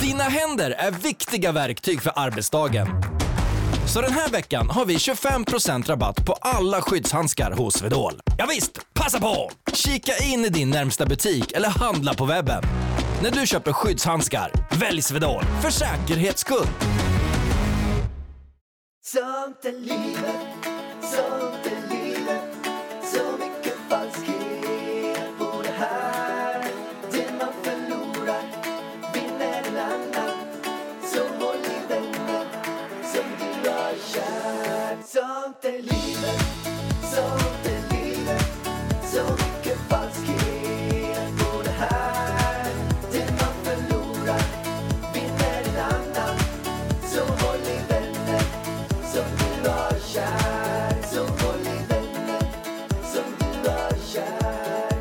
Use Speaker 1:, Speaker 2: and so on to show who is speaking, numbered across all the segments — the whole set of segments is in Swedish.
Speaker 1: Dina händer är viktiga verktyg för arbetsdagen. Så den här veckan har vi 25% rabatt på alla skyddshandskar hos Swedol. Ja visst, passa på! Kika in i din närmsta butik eller handla på webben. När du köper skyddshandskar, välj Swedol för säkerhets skull.
Speaker 2: Sånt är livet, sånt är livet Så mycket falskhet på det här Det man förlorar vinner en annan Så håll i vänner som du har kär Sånt är livet, sånt är livet Så mycket falskhet på det här Det man förlorar vinner en annan Så håll i vänner som du har kär Så håll i vänner som du har kär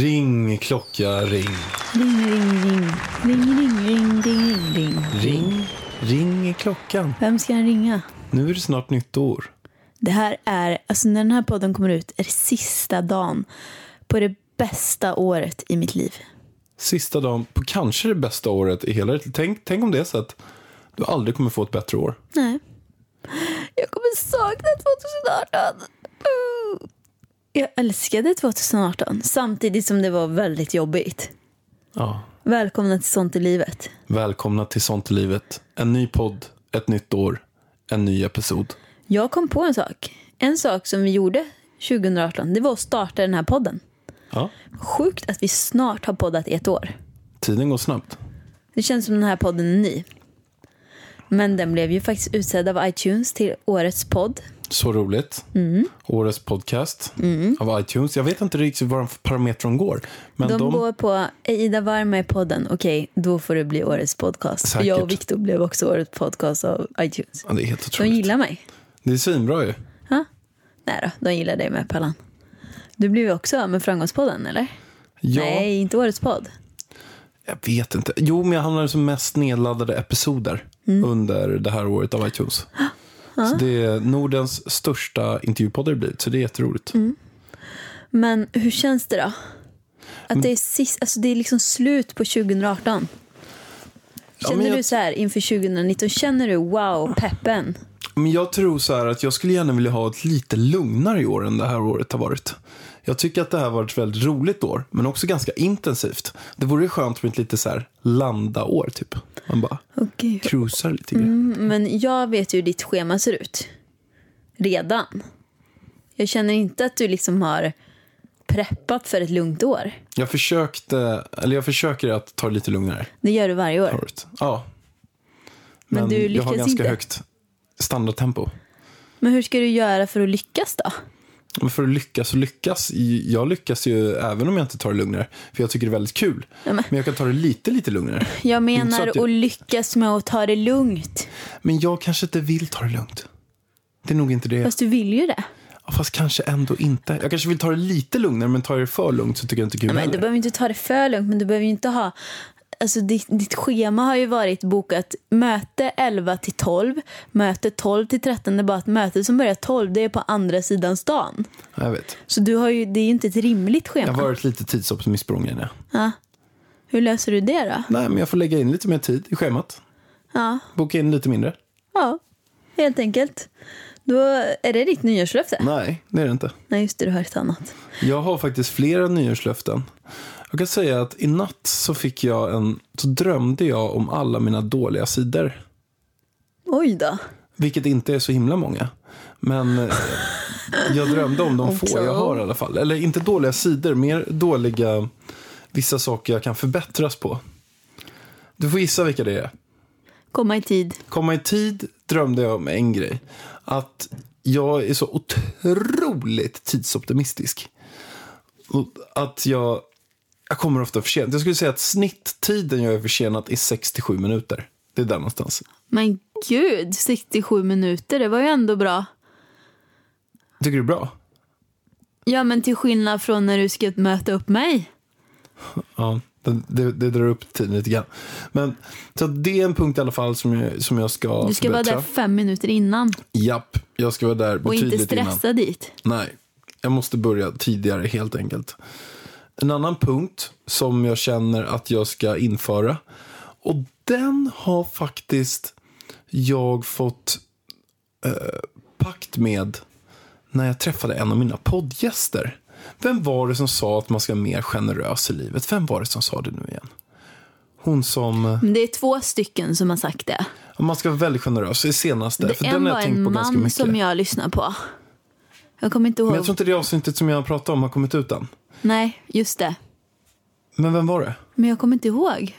Speaker 3: Ring, klocka, ring.
Speaker 4: Ding, ring, ring. Ding, ring, ring, ding, ring, ding.
Speaker 3: Ring, ring i klockan.
Speaker 4: Vem ska jag ringa?
Speaker 3: Nu är det snart nytt år.
Speaker 4: Det här är, alltså när den här podden kommer ut är det sista dagen på det bästa året i mitt liv.
Speaker 3: Sista dagen på kanske det bästa året i hela ditt tänk, tänk om det är så att du aldrig kommer få ett bättre år.
Speaker 4: Nej. Jag kommer sakna 2018. Uh. Jag älskade 2018, samtidigt som det var väldigt jobbigt.
Speaker 3: Ja.
Speaker 4: Välkomna till Sånt i livet.
Speaker 3: Välkomna till Sånt i livet. En ny podd, ett nytt år, en ny episod.
Speaker 4: Jag kom på en sak. En sak som vi gjorde 2018, det var att starta den här podden.
Speaker 3: Ja.
Speaker 4: Sjukt att vi snart har poddat i ett år.
Speaker 3: Tiden går snabbt.
Speaker 4: Det känns som den här podden är ny. Men den blev ju faktiskt utsedd av iTunes till årets podd.
Speaker 3: Så roligt.
Speaker 4: Mm.
Speaker 3: Årets podcast av iTunes. Jag vet inte riktigt vad de för parametrar de går. Men
Speaker 4: De,
Speaker 3: de,
Speaker 4: går på "Är Ida var med i podden, okej, då får det bli årets podcast.
Speaker 3: Säkert.
Speaker 4: Jag och Viktor blev också årets podcast av iTunes.
Speaker 3: Ja, det är helt
Speaker 4: De
Speaker 3: otroligt.
Speaker 4: gillar mig.
Speaker 3: Det är svinbra ju.
Speaker 4: Ha? Nej då, de gillar dig med Pallan. Du blev ju också av med Framgångspodden, eller?
Speaker 3: Ja,
Speaker 4: Nej, inte årets podd.
Speaker 3: jag vet inte. Jo, men jag hamnade som mest nedladdade episoder
Speaker 4: Mm.
Speaker 3: under det här året av iTunes. Så det är Nordens största intervjupodd har det blivit, så det är jätteroligt.
Speaker 4: Mm. Men hur känns det då? Att det är, sist, alltså det är liksom slut på 2018.
Speaker 3: Ja,
Speaker 4: Känner
Speaker 3: men jag-
Speaker 4: du så här inför 2019, känner du wow, peppen?
Speaker 3: Men jag tror så här att jag skulle gärna vilja ha ett lite lugnare i år än det här året har varit. Jag tycker att det här har varit ett väldigt roligt år, men också ganska intensivt. Det vore ju skönt med ett lite så här landa-år, typ. Man bara
Speaker 4: Okej. Mm.
Speaker 3: cruisar lite grann.
Speaker 4: Men jag vet ju hur ditt schema ser ut. Redan. Jag känner inte att du liksom har preppat för ett lugnt år.
Speaker 3: Jag försökte, eller jag försöker att ta det lite lugnare.
Speaker 4: Det gör du varje år.
Speaker 3: året. Ja.
Speaker 4: Men du
Speaker 3: jag har
Speaker 4: lyckas
Speaker 3: ganska
Speaker 4: inte.
Speaker 3: högt standardtempo.
Speaker 4: Men hur ska du göra för att lyckas då?
Speaker 3: Men för att lyckas och lyckas. Jag lyckas ju även om jag inte tar det lugnare. För jag tycker det är väldigt kul.
Speaker 4: men-
Speaker 3: Men jag kan ta det lite, lite lugnare.
Speaker 4: Jag
Speaker 3: Inte så
Speaker 4: menar
Speaker 3: att
Speaker 4: att,
Speaker 3: jag-
Speaker 4: lyckas med att ta det lugnt.
Speaker 3: Men jag kanske inte vill ta det lugnt. Det är nog inte det. Fast,
Speaker 4: Fast du vill ju det.
Speaker 3: Fast kanske ändå inte. Jag kanske vill ta det lite lugnare, men tar jag det för lugnt så tycker jag inte det är kul
Speaker 4: Men du
Speaker 3: heller.
Speaker 4: behöver inte ta det för lugnt, men du behöver ju inte ha... Alltså ditt, ditt schema har ju varit bokat möte 11 till 12, möte 12 till 13. Det är bara att mötet som börjar 12, det är på andra sidan stan.
Speaker 3: Jag vet.
Speaker 4: Så du har ju, det är ju inte ett rimligt
Speaker 3: Jag
Speaker 4: schema.
Speaker 3: har varit lite tidsoptimist på de grejerna.
Speaker 4: Hur löser du det då?
Speaker 3: Nej, men jag får lägga in lite mer tid i schemat.
Speaker 4: Ja,
Speaker 3: Boka in lite mindre.
Speaker 4: ja helt enkelt. Då är det ditt nyårslöfte.
Speaker 3: Nej, det är det inte.
Speaker 4: Nej, just det, du har ett annat.
Speaker 3: Jag har faktiskt flera nyårslöften. Jag kan säga att i natt så fick jag en, så drömde jag om alla mina dåliga sidor.
Speaker 4: Oj då.
Speaker 3: Vilket inte är så himla många. Men eh, jag drömde om de få jag har i alla fall. Eller inte dåliga sidor, mer dåliga, vissa saker jag kan förbättras på. Du får gissa vilka det är.
Speaker 4: Komma i tid.
Speaker 3: Komma i tid drömde jag om en grej. Att jag är så otroligt tidsoptimistisk. Och Att jag, jag kommer ofta för sent. Jag skulle säga att snitttiden jag är försenad är 67 minuter. Det är där någonstans.
Speaker 4: Men gud, 67 minuter, det var ju ändå bra.
Speaker 3: Tycker du det är bra?
Speaker 4: Ja, men till skillnad från när du ska möta upp mig.
Speaker 3: Ja, det, det, det drar upp tiden lite grann. Men, så att det är en punkt i alla fall som jag, som jag ska
Speaker 4: Du ska vara där fem minuter innan
Speaker 3: Japp, jag ska vara där
Speaker 4: och inte
Speaker 3: betydligt innan.
Speaker 4: stressa dit.
Speaker 3: Nej, jag måste börja tidigare helt enkelt. En annan punkt som jag känner att jag ska införa Och den har faktiskt jag fått eh, pakt med när jag träffade en av mina poddgäster. Vem var det som sa att man ska vara mer generös i livet? Vem var det som sa det nu igen? Hon som... eh,
Speaker 4: Men det är två stycken som har sagt det.
Speaker 3: Man ska vara väldigt generös i senaste. för
Speaker 4: en
Speaker 3: den har
Speaker 4: var
Speaker 3: jag tänkt på
Speaker 4: en
Speaker 3: ganska
Speaker 4: man
Speaker 3: mycket.
Speaker 4: som jag lyssnar på. Jag kommer inte ihåg.
Speaker 3: Men jag tror inte det avsnittet som jag pratade om har kommit ut än.
Speaker 4: Nej, just det.
Speaker 3: Men vem var det?
Speaker 4: Men jag kommer inte ihåg.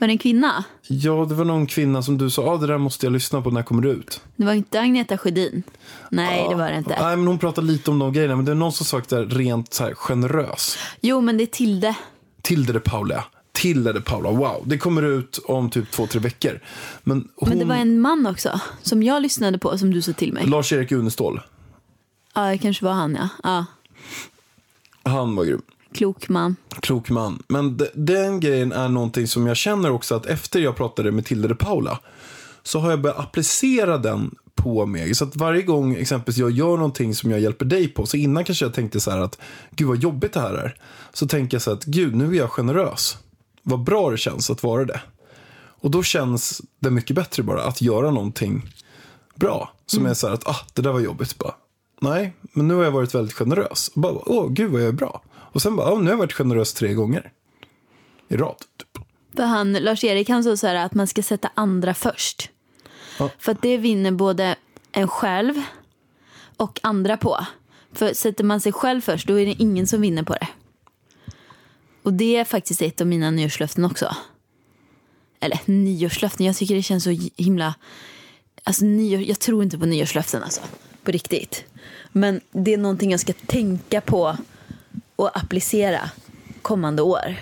Speaker 4: Var det en kvinna?
Speaker 3: Ja, det var någon kvinna som du sa, ah, det där måste jag lyssna på när det kommer ut.
Speaker 4: Det var inte Agneta Sjödin. Nej, det var det inte.
Speaker 3: Nej, men hon pratade lite om de grejerna, men det är någon som sagt där rent så här generös.
Speaker 4: Jo, men det är Tilde.
Speaker 3: Tilde de Paula. Tilde de Paula, wow. Det kommer ut om typ två, tre veckor. Men hon,
Speaker 4: Men det var en man också, som jag lyssnade på, som du sa till mig.
Speaker 3: Lars-Erik Unestål,
Speaker 4: Ja, det kanske var han, ja. ja.
Speaker 3: han var grym.
Speaker 4: Klok man.
Speaker 3: Klok man. Men de, den grejen är någonting som jag känner också att efter jag pratade med Tilde de Paula så har jag börjat applicera den på mig. Så att varje gång exempelvis jag gör någonting som jag hjälper dig på, så innan kanske jag tänkte så här att gud vad jobbigt det här är. Så tänker jag så här att gud nu är jag generös. Vad bra det känns att vara det. Och då känns det mycket bättre bara att göra någonting bra. Som är så här att ah, det där var jobbigt. Bara, Nej, men nu har jag varit väldigt generös. Och bara, åh gud vad jag är bra. Och sen bara, åh, nu har jag varit generös tre gånger. I rad. Typ.
Speaker 4: För han, Lars-Erik han sa så här att man ska sätta andra först.
Speaker 3: Ja.
Speaker 4: För att det vinner både en själv och andra på. För sätter man sig själv först då är det ingen som vinner på det. Och det är faktiskt ett av mina nyårslöften också. Eller nyårslöften, jag tycker det känns så himla... Alltså nyår, jag tror inte på nyårslöften alltså. På riktigt. Men det är någonting jag ska tänka på och applicera kommande år.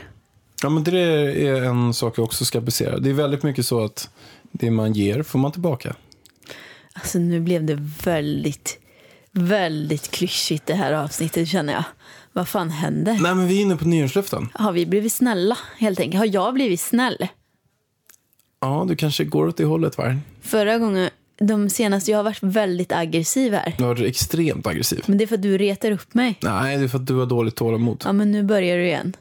Speaker 3: Ja, men det är en sak jag också ska applicera. Det är väldigt mycket så att det man ger får man tillbaka.
Speaker 4: Alltså nu blev det väldigt, väldigt klyschigt det här avsnittet känner jag. Vad fan händer?
Speaker 3: Nej, men vi är inne på nyårslöften.
Speaker 4: Har vi blivit snälla helt enkelt? Har jag blivit snäll?
Speaker 3: Ja, du kanske går åt det hållet, va?
Speaker 4: Förra gången, de senaste, jag har varit väldigt aggressiv här.
Speaker 3: Du har varit extremt aggressiv.
Speaker 4: Men det är för att du retar upp mig.
Speaker 3: Nej, det är för att du har dåligt tålamod.
Speaker 4: Ja men nu börjar du igen.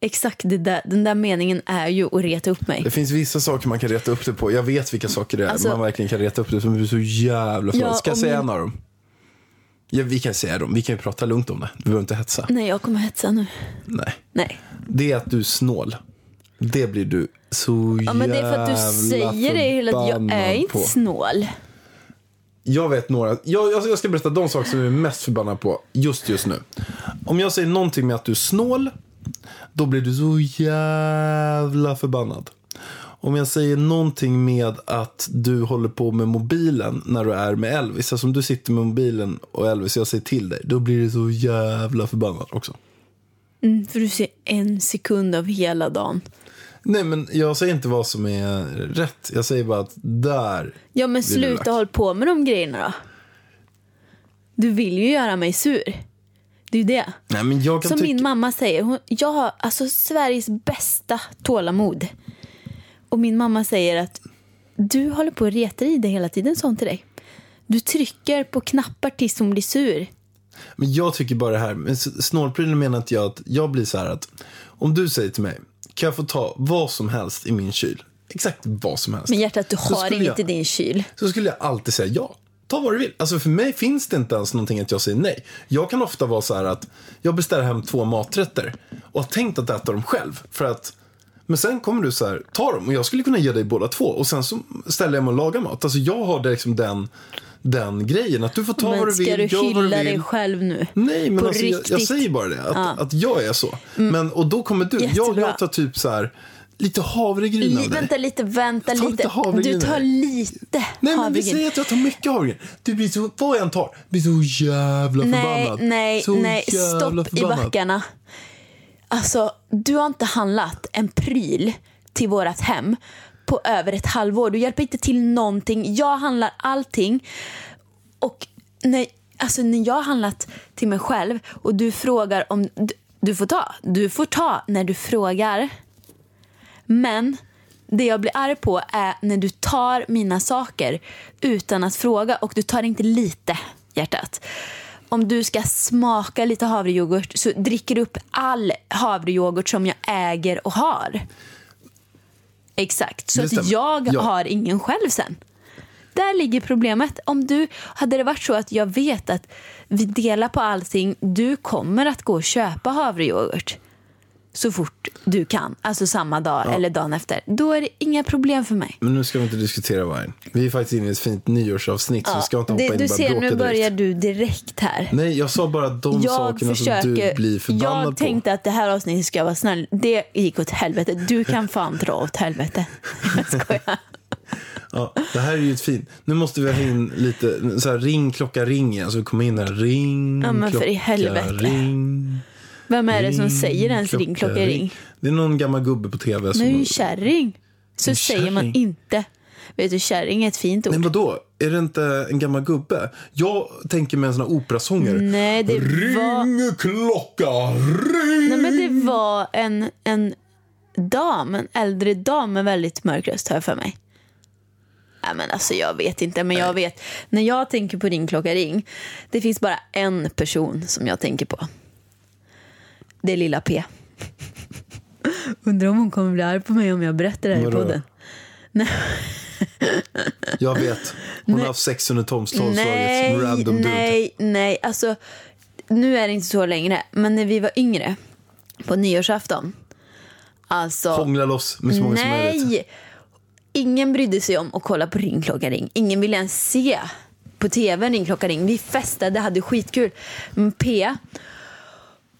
Speaker 4: Exakt det där, den där meningen är ju att reta upp mig.
Speaker 3: Det finns vissa saker man kan reta upp det på. Jag vet vilka saker det är
Speaker 4: Alltså-
Speaker 3: man verkligen kan reta upp det på. Men du är så jävla förbannad.
Speaker 4: Ja,
Speaker 3: Ska jag
Speaker 4: och
Speaker 3: säga
Speaker 4: min-
Speaker 3: en av dem? Ja, vi kan säga dem. Vi kan ju prata lugnt om det. Du behöver inte hetsa.
Speaker 4: Nej jag kommer hetsa nu.
Speaker 3: Nej.
Speaker 4: Nej.
Speaker 3: Det är att du är snål. Det blir du så
Speaker 4: Ja men det är för att du säger det hela tiden. Jag är
Speaker 3: förbannad
Speaker 4: inte
Speaker 3: på.
Speaker 4: snål.
Speaker 3: Jag vet några. Jag, jag, jag ska berätta de saker som jag är mest förbannad på just just nu. Om jag säger någonting med att du är snål, då blir du så jävla förbannad. Om jag säger någonting med att du håller på med mobilen när du är med Elvis. Alltså om du sitter med mobilen och Elvis, jag säger till dig. Då blir du så jävla förbannad också.
Speaker 4: Mm, för du ser en sekund av hela dagen.
Speaker 3: Nej men jag säger inte vad som är rätt. Jag säger bara att där.
Speaker 4: Ja men
Speaker 3: Vill du lax?
Speaker 4: sluta håll på med de grejerna då. Du vill ju göra mig sur. Det är ju det.
Speaker 3: Nej men jag kan
Speaker 4: Som
Speaker 3: tycka.
Speaker 4: min mamma säger, hon, jag har alltså Sveriges bästa tålamod. Och min mamma säger att du håller på och retar i dig hela tiden, sa hon till dig. Du trycker på knappar tills hon blir sur.
Speaker 3: Men jag tycker bara det här, men s- snålprylen menar inte jag att jag blir så här att om du säger till mig, kan jag få ta vad som helst i min kyl? Exakt vad som helst.
Speaker 4: Men hjärtat, du
Speaker 3: Så
Speaker 4: har
Speaker 3: skulle
Speaker 4: inget
Speaker 3: jag-
Speaker 4: i din kyl.
Speaker 3: Så skulle jag alltid säga ja. Ta vad du vill. Alltså för mig finns det inte ens någonting att jag säger nej. Jag kan ofta vara så här att jag beställer hem två maträtter och har tänkt att äta dem själv. För att, men sen kommer du så här, ta dem och jag skulle kunna ge dig båda två och sen så ställer jag mig och lagar mat. Alltså jag har det liksom den, den grejen att du får ta vad
Speaker 4: Men
Speaker 3: du vill,
Speaker 4: ska du
Speaker 3: gör vad du
Speaker 4: hylla dig
Speaker 3: vill.
Speaker 4: själv nu?
Speaker 3: Nej, men
Speaker 4: På
Speaker 3: alltså, jag, jag
Speaker 4: riktigt. Mm.
Speaker 3: säger bara det. Att, att jag är så. Men, och då kommer du. Jag,
Speaker 4: Jättebra.
Speaker 3: jag tar typ så här, lite havregryn
Speaker 4: Li-
Speaker 3: av dig.
Speaker 4: vänta lite, vänta
Speaker 3: Ta
Speaker 4: lite.
Speaker 3: lite havregryn
Speaker 4: Du tar
Speaker 3: här.
Speaker 4: lite
Speaker 3: Nej, men vi
Speaker 4: havregryn.
Speaker 3: säger att jag tar mycket havregryn. Du blir så, vad jag än tar, blir så jävla
Speaker 4: Nej,
Speaker 3: förbannad.
Speaker 4: nej,
Speaker 3: så
Speaker 4: nej.
Speaker 3: jävla
Speaker 4: Stopp i
Speaker 3: förbannad.
Speaker 4: backarna. Alltså, du har inte handlat en pryl till vårt hem på över ett halvår. Du hjälper inte till någonting. Jag handlar allting. Och när, alltså, när jag har handlat till mig själv och du frågar om... Du, du får ta. Du får ta när du frågar. Men det jag blir arg på är när du tar mina saker utan att fråga och du tar inte lite, hjärtat. Om du ska smaka lite havrejoghurt så dricker du upp all havrejoghurt som jag äger och har. Exakt, så
Speaker 3: Det
Speaker 4: att
Speaker 3: stämmer.
Speaker 4: jag
Speaker 3: Ja.
Speaker 4: har ingen själv sen. Där ligger problemet. Om du, hade det varit så att jag vet att vi delar på allting, du kommer att gå och köpa havrejoghurt så fort du kan, alltså samma dag eller dagen efter, då är det inga problem för mig.
Speaker 3: Men nu ska vi inte diskutera vargen. Vi är faktiskt inne i ett fint nyårsavsnitt så vi ska inte hoppa
Speaker 4: det,
Speaker 3: in och
Speaker 4: du
Speaker 3: börja
Speaker 4: ser,
Speaker 3: bråka
Speaker 4: nu börjar
Speaker 3: direkt.
Speaker 4: du direkt här.
Speaker 3: Nej, jag sa bara de
Speaker 4: Jag,
Speaker 3: sakerna som du blir
Speaker 4: försöker,
Speaker 3: förbannad
Speaker 4: jag
Speaker 3: på.
Speaker 4: tänkte att det här avsnittet ska vara snäll. Det gick åt helvete. Du kan fan dra åt helvete. Jag skojar.
Speaker 3: Ja, det här är ju ett fint. Nu måste vi ha in lite, så här, ring klocka ring igen. Så vi kommer in här, ring
Speaker 4: Ja, men för i
Speaker 3: klocka
Speaker 4: helvete.
Speaker 3: ring.
Speaker 4: Vem är det som
Speaker 3: ring,
Speaker 4: säger ens ring, klocka, ring?
Speaker 3: Det är någon gammal gubbe på tv som...
Speaker 4: Nu är ju kärring. Så
Speaker 3: En
Speaker 4: säger man
Speaker 3: kärring.
Speaker 4: inte. Vet du, kärring är ett fint ord.
Speaker 3: Nej, vadå? Är det inte en gammal gubbe? Jag tänker med en sån här operasångare.
Speaker 4: Nej, det var,
Speaker 3: Ring klocka ring.
Speaker 4: nej, men det var en, en dam, en äldre dam med väldigt mörk röst, har jag för mig. Nej, men alltså, jag vet inte, men jag vet. När jag tänker på ring, klocka, ring. Det finns bara en person som jag tänker på. Det är lilla P. Undrar om hon kommer bli arg på mig om jag berättar det här
Speaker 3: Vadå?
Speaker 4: i podden.
Speaker 3: Jag vet. Hon har haft sex under tolvslaget. som Random dude.
Speaker 4: nej, nej. Alltså, nu är det inte så längre, men när vi var yngre på nyårsafton. Alltså,
Speaker 3: Hångla loss med så många som möjligt.
Speaker 4: nej! Ingen brydde sig om att kolla på Ring klocka ring. Ingen ville ens se på tv Ring klocka ring. Vi festade, hade skitkul. Men P,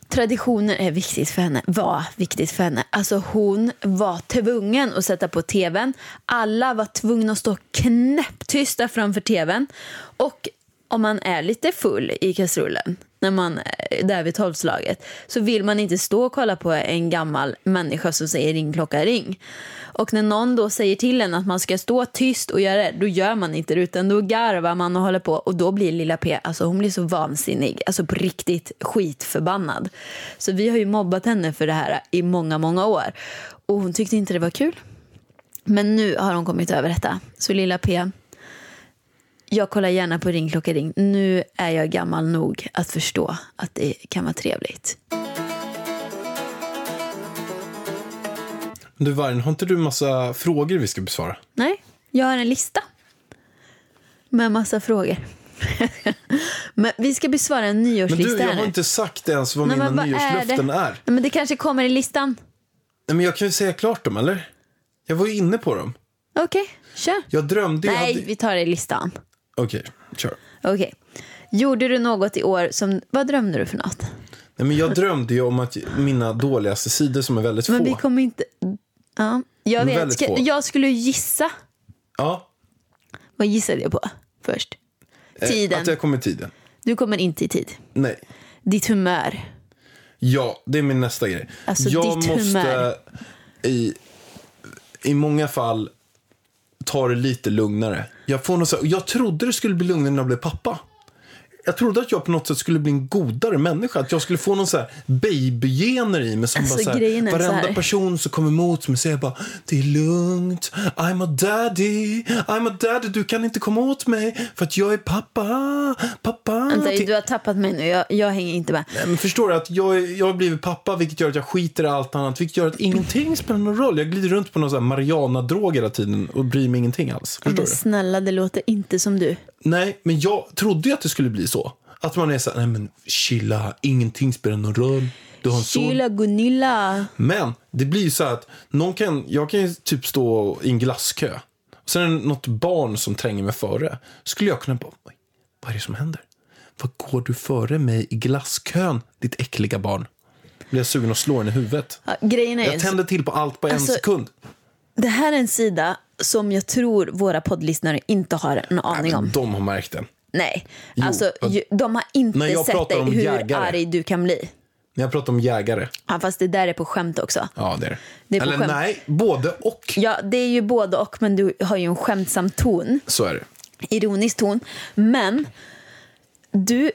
Speaker 4: traditioner är viktigt för henne. Var viktigt för henne. Alltså hon var tvungen att sätta på tvn. Alla var tvungna att stå knäpptysta framför tvn. Och om man är lite full i kastrullen, när man är där vid tolvslaget, så vill man inte stå och kolla på en gammal människa som säger ring klocka ring. Och när någon då säger till en att man ska stå tyst och göra det, då gör man inte det utan då garvar man och håller på och då blir lilla P, alltså hon blir så vansinnig, alltså på riktigt skitförbannad. Så vi har ju mobbat henne för det här i många, många år och hon tyckte inte det var kul. Men nu har hon kommit över detta. Så lilla P, jag kollar gärna på Ring klocka ring. Nu är jag gammal nog att förstå att det kan vara trevligt.
Speaker 3: Du Vargen, har inte du massa frågor vi ska besvara?
Speaker 4: Nej, jag har en lista. Med massa frågor. men vi ska besvara en
Speaker 3: Men
Speaker 4: nyårslista
Speaker 3: du, jag
Speaker 4: här
Speaker 3: har
Speaker 4: nu.
Speaker 3: inte sagt ens vad
Speaker 4: Nej,
Speaker 3: mina
Speaker 4: men vad
Speaker 3: nyårslöften är.
Speaker 4: Nej, men det kanske kommer i listan.
Speaker 3: Nej, men jag kan ju säga klart dem, eller? Jag var ju inne på dem.
Speaker 4: Okej, kör.
Speaker 3: Jag drömde ju...
Speaker 4: Nej,
Speaker 3: hade-
Speaker 4: vi tar det i listan.
Speaker 3: Okej, kör.
Speaker 4: Okej. Gjorde du något i år som... Vad drömde du för något?
Speaker 3: Nej, men jag drömde ju om att mina dåligaste sidor som är väldigt
Speaker 4: Men
Speaker 3: få.
Speaker 4: vi kommer inte... Ja, jag
Speaker 3: Men
Speaker 4: vet.
Speaker 3: väldigt
Speaker 4: Ska,
Speaker 3: få.
Speaker 4: jag skulle gissa.
Speaker 3: Ja,
Speaker 4: Vad gissade jag på först?
Speaker 3: eh,
Speaker 4: Tiden.
Speaker 3: Att jag kom i tiden.
Speaker 4: Du kommer inte i tid.
Speaker 3: Nej.
Speaker 4: Ditt humör.
Speaker 3: Ja, det är min nästa grej.
Speaker 4: Alltså,
Speaker 3: jag
Speaker 4: ditt
Speaker 3: måste
Speaker 4: humör.
Speaker 3: i, i många fall ta det lite lugnare. Jag, får något så här, jag trodde det skulle bli lugnare när jag blev pappa. Jag trodde att jag på något sätt skulle bli en godare människa. Att jag skulle få någon så här babygener i mig. Som
Speaker 4: Alltså,
Speaker 3: bara så här,
Speaker 4: grejen är så
Speaker 3: varenda
Speaker 4: här.
Speaker 3: person som kommer emot mig säger bara Det är lugnt, I'm a daddy, I'm a daddy, du kan inte komma åt mig för att jag är pappa, pappa.
Speaker 4: Vänta,
Speaker 3: Ah, till-
Speaker 4: du har tappat mig nu. Jag, jag hänger inte med.
Speaker 3: Nej, Eh, Men förstår du att jag, är- jag har blivit pappa vilket gör att jag skiter i allt annat. Vilket gör att ingenting spelar någon roll. Jag glider runt på någon sån här Mariana-drog hela tiden och bryr mig ingenting alls. Förstår
Speaker 4: Men
Speaker 3: du?
Speaker 4: snälla, det låter inte som du.
Speaker 3: Nej, men jag trodde ju att det skulle bli så. Att man är så här, nej men chilla, ingenting spelar någon roll. Du har en son.
Speaker 4: Kyla Gunilla.
Speaker 3: Men det blir ju så här att någon kan, jag kan ju typ stå i en glasskö. Och sen är det något barn som tränger mig före. Skulle jag kunna bara, "Oj, vad är det som händer? Vad går du före mig i glasskön, ditt äckliga barn? Blir jag sugen att slå den i huvudet?
Speaker 4: Ja, grejen är
Speaker 3: Jag
Speaker 4: ju-
Speaker 3: tänder till på allt på en
Speaker 4: Alltså,
Speaker 3: sekund.
Speaker 4: Det här är en sida som jag tror våra poddlyssnare inte har en
Speaker 3: Nej,
Speaker 4: aning
Speaker 3: men
Speaker 4: om.
Speaker 3: de har märkt den.
Speaker 4: Nej,
Speaker 3: Jo,
Speaker 4: alltså
Speaker 3: att-
Speaker 4: ju- de har inte
Speaker 3: När jag
Speaker 4: sett
Speaker 3: pratar
Speaker 4: dig
Speaker 3: om
Speaker 4: hur
Speaker 3: jägare.
Speaker 4: arg du kan bli.
Speaker 3: När jag pratar om jägare.
Speaker 4: Ja, fast det där är på skämt också.
Speaker 3: Ja, det är det.
Speaker 4: Det är på
Speaker 3: Eller
Speaker 4: skämt.
Speaker 3: nej, både och.
Speaker 4: Ja, det är ju både och, men du har ju en skämtsam ton.
Speaker 3: Så är det.
Speaker 4: ironisk ton. Men du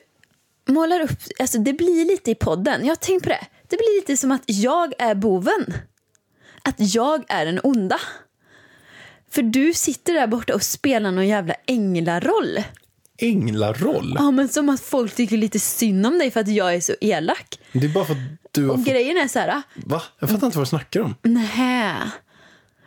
Speaker 4: målar upp, alltså det blir lite i podden, jag har tänkt på det. Det blir lite som att jag är boven. Att jag är den onda. För du sitter där borta och spelar någon jävla änglaroll.
Speaker 3: Änglaroll.
Speaker 4: Ja, men som att folk tycker lite synd om dig för att jag är så elak.
Speaker 3: Det är bara för att du har
Speaker 4: Och
Speaker 3: fått...
Speaker 4: grejen är så här,
Speaker 3: Va? Jag fattar inte vad du snackar om.
Speaker 4: nähä.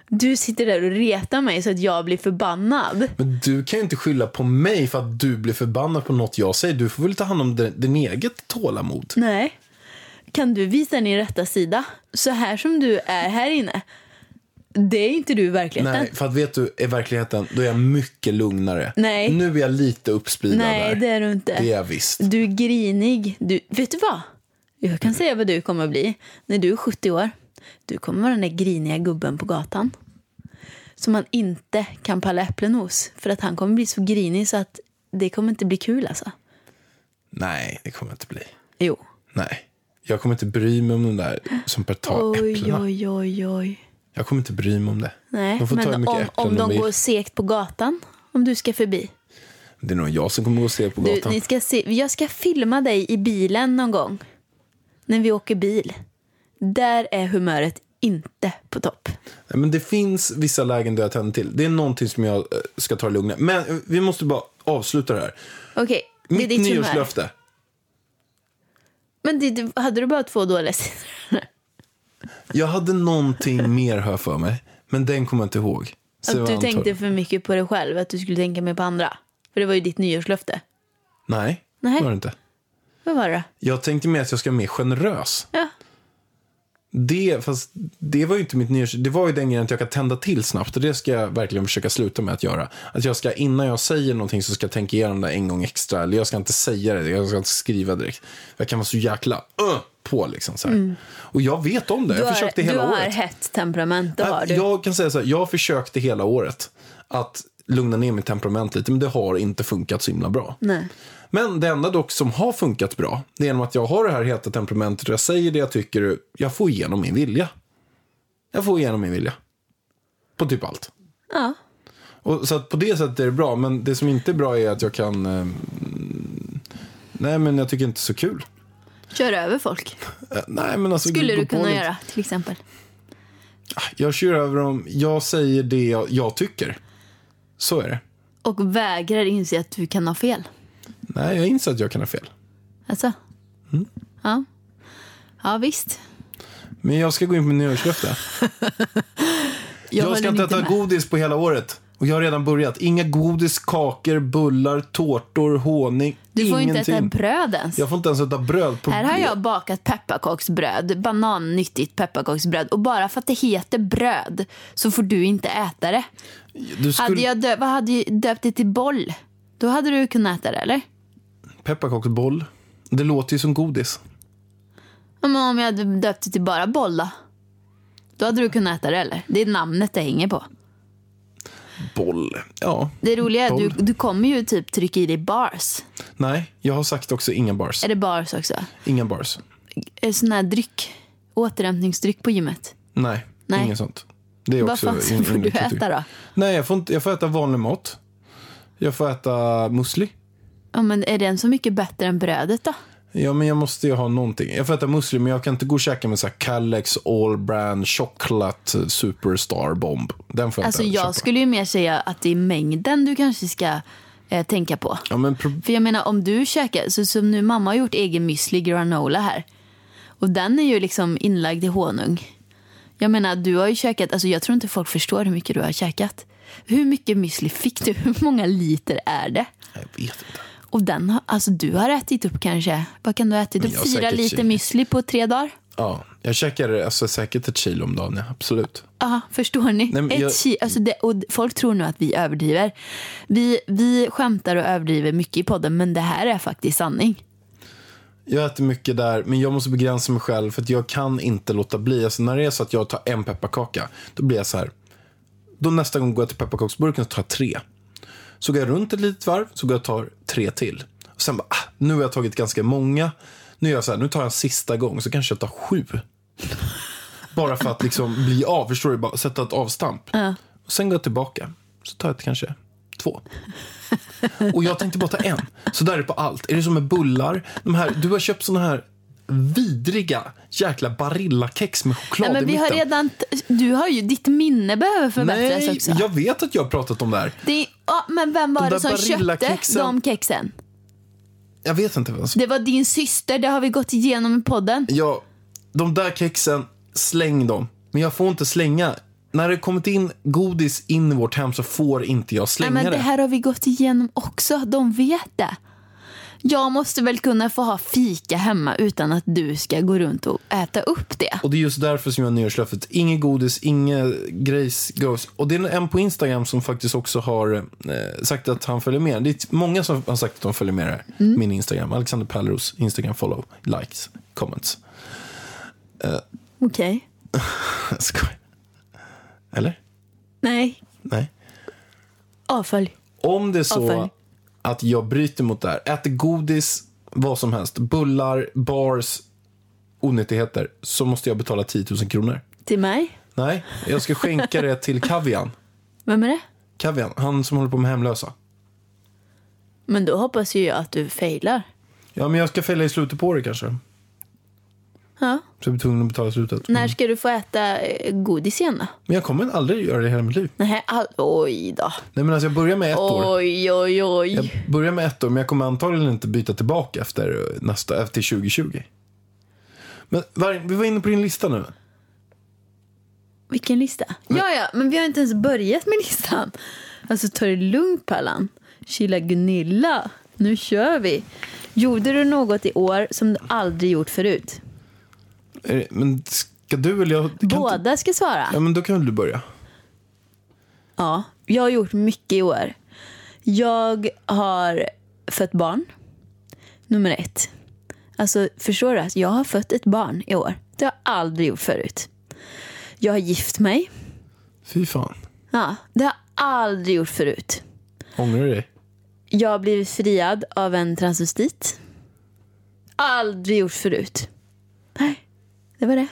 Speaker 4: Du sitter där och retar mig så att jag blir förbannad.
Speaker 3: Men du kan ju inte skylla på mig för att du blir förbannad på något jag säger. Du får väl ta hand om din, din eget tålamod.
Speaker 4: Nej. Kan du visa din rätta sida? Så här som du är här inne. Det är inte du i verkligheten.
Speaker 3: Nej, för att vet du, i verkligheten, då är jag mycket lugnare.
Speaker 4: Nej.
Speaker 3: Nu är jag lite uppspridd
Speaker 4: Nej,
Speaker 3: där.
Speaker 4: det är du inte.
Speaker 3: Det är jag visst.
Speaker 4: Du är grinig. Du, vet du vad? Jag kan säga vad du kommer bli när du är 70 år. Du kommer vara den där griniga gubben på gatan. Som man inte kan palla äpplen hos. För att han kommer bli så grinig så att det kommer inte bli kul alltså.
Speaker 3: Nej, det kommer jag inte bli.
Speaker 4: Jo.
Speaker 3: Nej. Jag kommer inte bry mig om de där som tar
Speaker 4: Oj,
Speaker 3: äpplena.
Speaker 4: oj, oj, oj.
Speaker 3: Jag kommer inte bry mig om det.
Speaker 4: Nej,
Speaker 3: de får ta hur
Speaker 4: men
Speaker 3: mycket
Speaker 4: om,
Speaker 3: äpplen
Speaker 4: om de
Speaker 3: vill.
Speaker 4: går segt på gatan, om du ska förbi.
Speaker 3: Det är nog jag som kommer gå och se på
Speaker 4: Du,
Speaker 3: gatan.
Speaker 4: ni ska se, jag ska filma dig i bilen någon gång. När vi åker bil. Där är humöret inte på topp.
Speaker 3: Nej, Men det finns vissa lägen där jag tänder till. Det är någonting som jag eh, ska ta det lugnt med. Men eh, vi måste bara avsluta det här.
Speaker 4: Okej, det är
Speaker 3: Mitt
Speaker 4: ditt humör.
Speaker 3: nyårslöfte.
Speaker 4: Men det, det- hade du bara två dåliga sidor?
Speaker 3: Jag hade någonting mer här för mig, men den kommer jag inte ihåg. Så jag
Speaker 4: Att du
Speaker 3: antar-
Speaker 4: tänkte för mycket på dig själv, att du skulle tänka mer på andra. För det var ju ditt nyårslöfte.
Speaker 3: Nej,
Speaker 4: Nej.
Speaker 3: det var det inte.
Speaker 4: Vad var det då?
Speaker 3: Jag tänkte mer att jag ska vara mer generös.
Speaker 4: Ja.
Speaker 3: Det, fast det var ju inte mitt nyårs... Det var ju den grejen att jag kan tända till snabbt. Och det ska jag verkligen försöka sluta med att göra. Att jag ska, innan jag säger någonting så ska jag tänka igenom det en gång extra. Eller jag ska inte säga det, jag ska inte skriva direkt. Jag kan vara så jäkla "Ugh!" på liksom så här. Och jag vet om det,
Speaker 4: Mm. Du
Speaker 3: jag försökte
Speaker 4: har,
Speaker 3: hela
Speaker 4: du
Speaker 3: året.
Speaker 4: har hett temperament, det
Speaker 3: Nej,
Speaker 4: har du.
Speaker 3: Jag kan säga så här, jag försökte hela året att lugna ner mitt temperament lite, men det har inte funkat så himla bra.
Speaker 4: Nej.
Speaker 3: Men det enda dock som har funkat bra, det är genom att jag har det här heta temperamentet och jag säger det jag tycker, och jag får igenom min vilja. Jag får igenom min vilja. På typ allt.
Speaker 4: Ja.
Speaker 3: Och, så att på det sättet är det bra, men det som inte är bra är att jag kan... Eh, nej, men jag tycker inte så kul.
Speaker 4: Kör över folk.
Speaker 3: Eh, nej, men alltså,
Speaker 4: Skulle
Speaker 3: gå
Speaker 4: du
Speaker 3: på
Speaker 4: kunna
Speaker 3: lite.
Speaker 4: göra, till exempel.
Speaker 3: Jag kör över dem, jag säger det jag, jag tycker. Så är det.
Speaker 4: Och vägrar inse att du kan ha fel.
Speaker 3: Nej, jag inser att jag kan ha fel.
Speaker 4: Alltså?
Speaker 3: Mm.
Speaker 4: Ja. Ja, visst.
Speaker 3: Men jag ska gå in på nyårslöfte. Jag,
Speaker 4: håller
Speaker 3: ska inte
Speaker 4: inte
Speaker 3: äta
Speaker 4: med.
Speaker 3: godis på hela året. Och jag har redan börjat. Inga godis, kakor, bullar, tårtor, honung.
Speaker 4: Du får
Speaker 3: ingenting.
Speaker 4: inte äta bröd ens.
Speaker 3: Jag får inte ens äta bröd. På
Speaker 4: Här har jag bakat pepparkaksbröd, banannyttigt pepparkaksbröd. Och bara för att det heter bröd så får du inte äta det.
Speaker 3: Du
Speaker 4: Hade
Speaker 3: skulle...
Speaker 4: jag dö- vad hade jag döpt det till boll? Då hade du kunnat äta det, eller?
Speaker 3: Pepparkaksboll. Det låter ju som godis.
Speaker 4: Ja, Men om jag hade döpt det till bara boll då? Då hade du kunnat äta det, eller? Det är namnet det hänger på.
Speaker 3: Boll. Ja.
Speaker 4: Det roliga är att du,
Speaker 3: Boll.
Speaker 4: du kommer ju typ trycka i dig bars.
Speaker 3: Nej, jag har sagt också inga bars.
Speaker 4: Är det bars också?
Speaker 3: Inga bars.
Speaker 4: Är det eh, sån här dryck? Återhämtningsdryck på gymmet?
Speaker 3: Nej,
Speaker 4: Nej.
Speaker 3: inget sånt. Det är
Speaker 4: Vad
Speaker 3: också
Speaker 4: fan
Speaker 3: in-
Speaker 4: får du
Speaker 3: inriktat i-
Speaker 4: äta då?
Speaker 3: Nej, jag får, inte, jag får äta vanlig mat. Jag får äta müsli.
Speaker 4: Ja, men är den så mycket bättre än brödet då?
Speaker 3: Ja, men jag måste ju ha någonting. Jag får äta musli, men jag kan inte gå och käka med så här Kalex All Brand Chocolate Superstar Bomb. Den får jag
Speaker 4: Alltså
Speaker 3: inte
Speaker 4: jag
Speaker 3: köpa.
Speaker 4: skulle ju mer säga att det är mängden du kanske ska eh, tänka på.
Speaker 3: Ja, men pro-
Speaker 4: För jag menar om du käkar, så som nu mamma har gjort egen müsli granola här. Och den är ju liksom inlagd i honung. Jag menar du har ju käkat, alltså jag tror inte folk förstår hur mycket du har käkat. Hur mycket müsli fick du? Hur många liter är det?
Speaker 3: Jag vet inte.
Speaker 4: Och den har, alltså du har ätit upp kanske, vad kan du ha ätit
Speaker 3: Men
Speaker 4: upp?
Speaker 3: jag har
Speaker 4: Fyra
Speaker 3: säkert
Speaker 4: liter
Speaker 3: kil.
Speaker 4: müsli på tre dagar?
Speaker 3: Ja, jag käkar alltså, säkert ett kilo om dagen, ja. absolut.
Speaker 4: Ja, förstår ni?
Speaker 3: men
Speaker 4: Ett
Speaker 3: jag-
Speaker 4: ki- alltså det, och folk tror nu att vi överdriver. Vi, vi skämtar och överdriver mycket i podden, men det här är faktiskt sanning.
Speaker 3: Jag äter mycket där, men jag måste begränsa mig själv för att jag kan inte låta bli. Alltså, när det är så att jag tar en pepparkaka, då blir jag så här. Då nästa gång går jag till pepparkaksburken och tar jag tre. Så går jag runt ett litet varv, så går jag och tar tre till. Och sen bara, ah, nu har jag tagit ganska många. Nu gör jag så här, nu tar jag en sista gång, så kanske jag tar sju. Bara för att liksom bli av, förstår du? Bara sätta ett avstamp. Och sen går jag tillbaka, så tar jag kanske två. Och jag tänkte bara ta en. Så där är det på allt. Är det som med bullar? De här, du har köpt såna här vidriga jäkla Barilla-kex med choklad
Speaker 4: Nej, men
Speaker 3: i
Speaker 4: vi
Speaker 3: mitten.
Speaker 4: har redan, t- du har ju, ditt minne behöver förbättras
Speaker 3: Nej,
Speaker 4: också.
Speaker 3: jag vet att jag har pratat om det här.
Speaker 4: Det är, ja, men vem var
Speaker 3: De
Speaker 4: det
Speaker 3: där
Speaker 4: som köpte
Speaker 3: Barilla-kexen.
Speaker 4: de kexen?
Speaker 3: Jag vet inte vem som...
Speaker 4: Det var din syster, det har vi gått igenom i podden.
Speaker 3: Ja, de där kexen, släng dem. Men jag får inte slänga när det kommit in godis in i vårt hem så får inte jag
Speaker 4: Nej,
Speaker 3: slänga
Speaker 4: men det
Speaker 3: det.
Speaker 4: här har vi gått igenom också. De vet det. Jag måste väl kunna få ha fika hemma utan att du ska gå runt och äta upp det.
Speaker 3: Och det är just därför som jag har nyårslöftet. Inget godis, inget grejs, goes. Och det är en på Instagram som faktiskt också har eh, sagt att han följer med. Det är många som har sagt att de följer med det här.
Speaker 4: Mm.
Speaker 3: Min Instagram, Alexander Pärleros Instagram follow, likes, comments.
Speaker 4: Okej.
Speaker 3: Jag skojar. Eller?
Speaker 4: Nej.
Speaker 3: Nej.
Speaker 4: Avfölj.
Speaker 3: Om det är så
Speaker 4: Avfölj.
Speaker 3: att jag bryter mot det här, äter godis, vad som helst, bullar, bars, onyttigheter, så måste jag betala 10 000 kronor.
Speaker 4: Till mig?
Speaker 3: Nej, jag ska skänka det till Kavian.
Speaker 4: Vem är det?
Speaker 3: Kavian, han som håller på med hemlösa.
Speaker 4: Men då hoppas ju jag att du failar.
Speaker 3: Ja, men jag ska fälla i slutet på året kanske.
Speaker 4: Ja.
Speaker 3: Så jag blir tvungen att betala i slutet.
Speaker 4: När ska du få äta eh, godis igen då?
Speaker 3: Men jag kommer aldrig göra det i hela mitt liv.
Speaker 4: Nej, all... oj då.
Speaker 3: Nej, men alltså jag börjar med ett år.
Speaker 4: Oj, oj,
Speaker 3: Jag
Speaker 4: oj.
Speaker 3: börjar med ett år, men jag kommer antagligen inte byta tillbaka efter, eh, nästa, efter 2020. Men var, vi var inne på din lista nu.
Speaker 4: Vilken lista? Ja, ja, men vi har inte ens börjat med listan. Alltså, ta det lugnt, Pallan. Chilla Gunilla. Nu kör vi. Gjorde du något i år som du aldrig gjort förut?
Speaker 3: Är det- Men ska du eller jag? kan inte-
Speaker 4: Båda ska svara.
Speaker 3: Ja, men då kan väl du börja.
Speaker 4: Ja, jag har gjort mycket i år. Jag har fött barn. Nummer ett. Alltså, förstår du? att Jag har fött ett barn i år. Det har jag aldrig gjort förut. Jag har gift mig.
Speaker 3: Fy fan.
Speaker 4: Ja, det har jag aldrig gjort förut.
Speaker 3: Ångrar du dig?
Speaker 4: Jag har blivit friad av en transvestit. Aldrig gjort förut. Nej, det var det.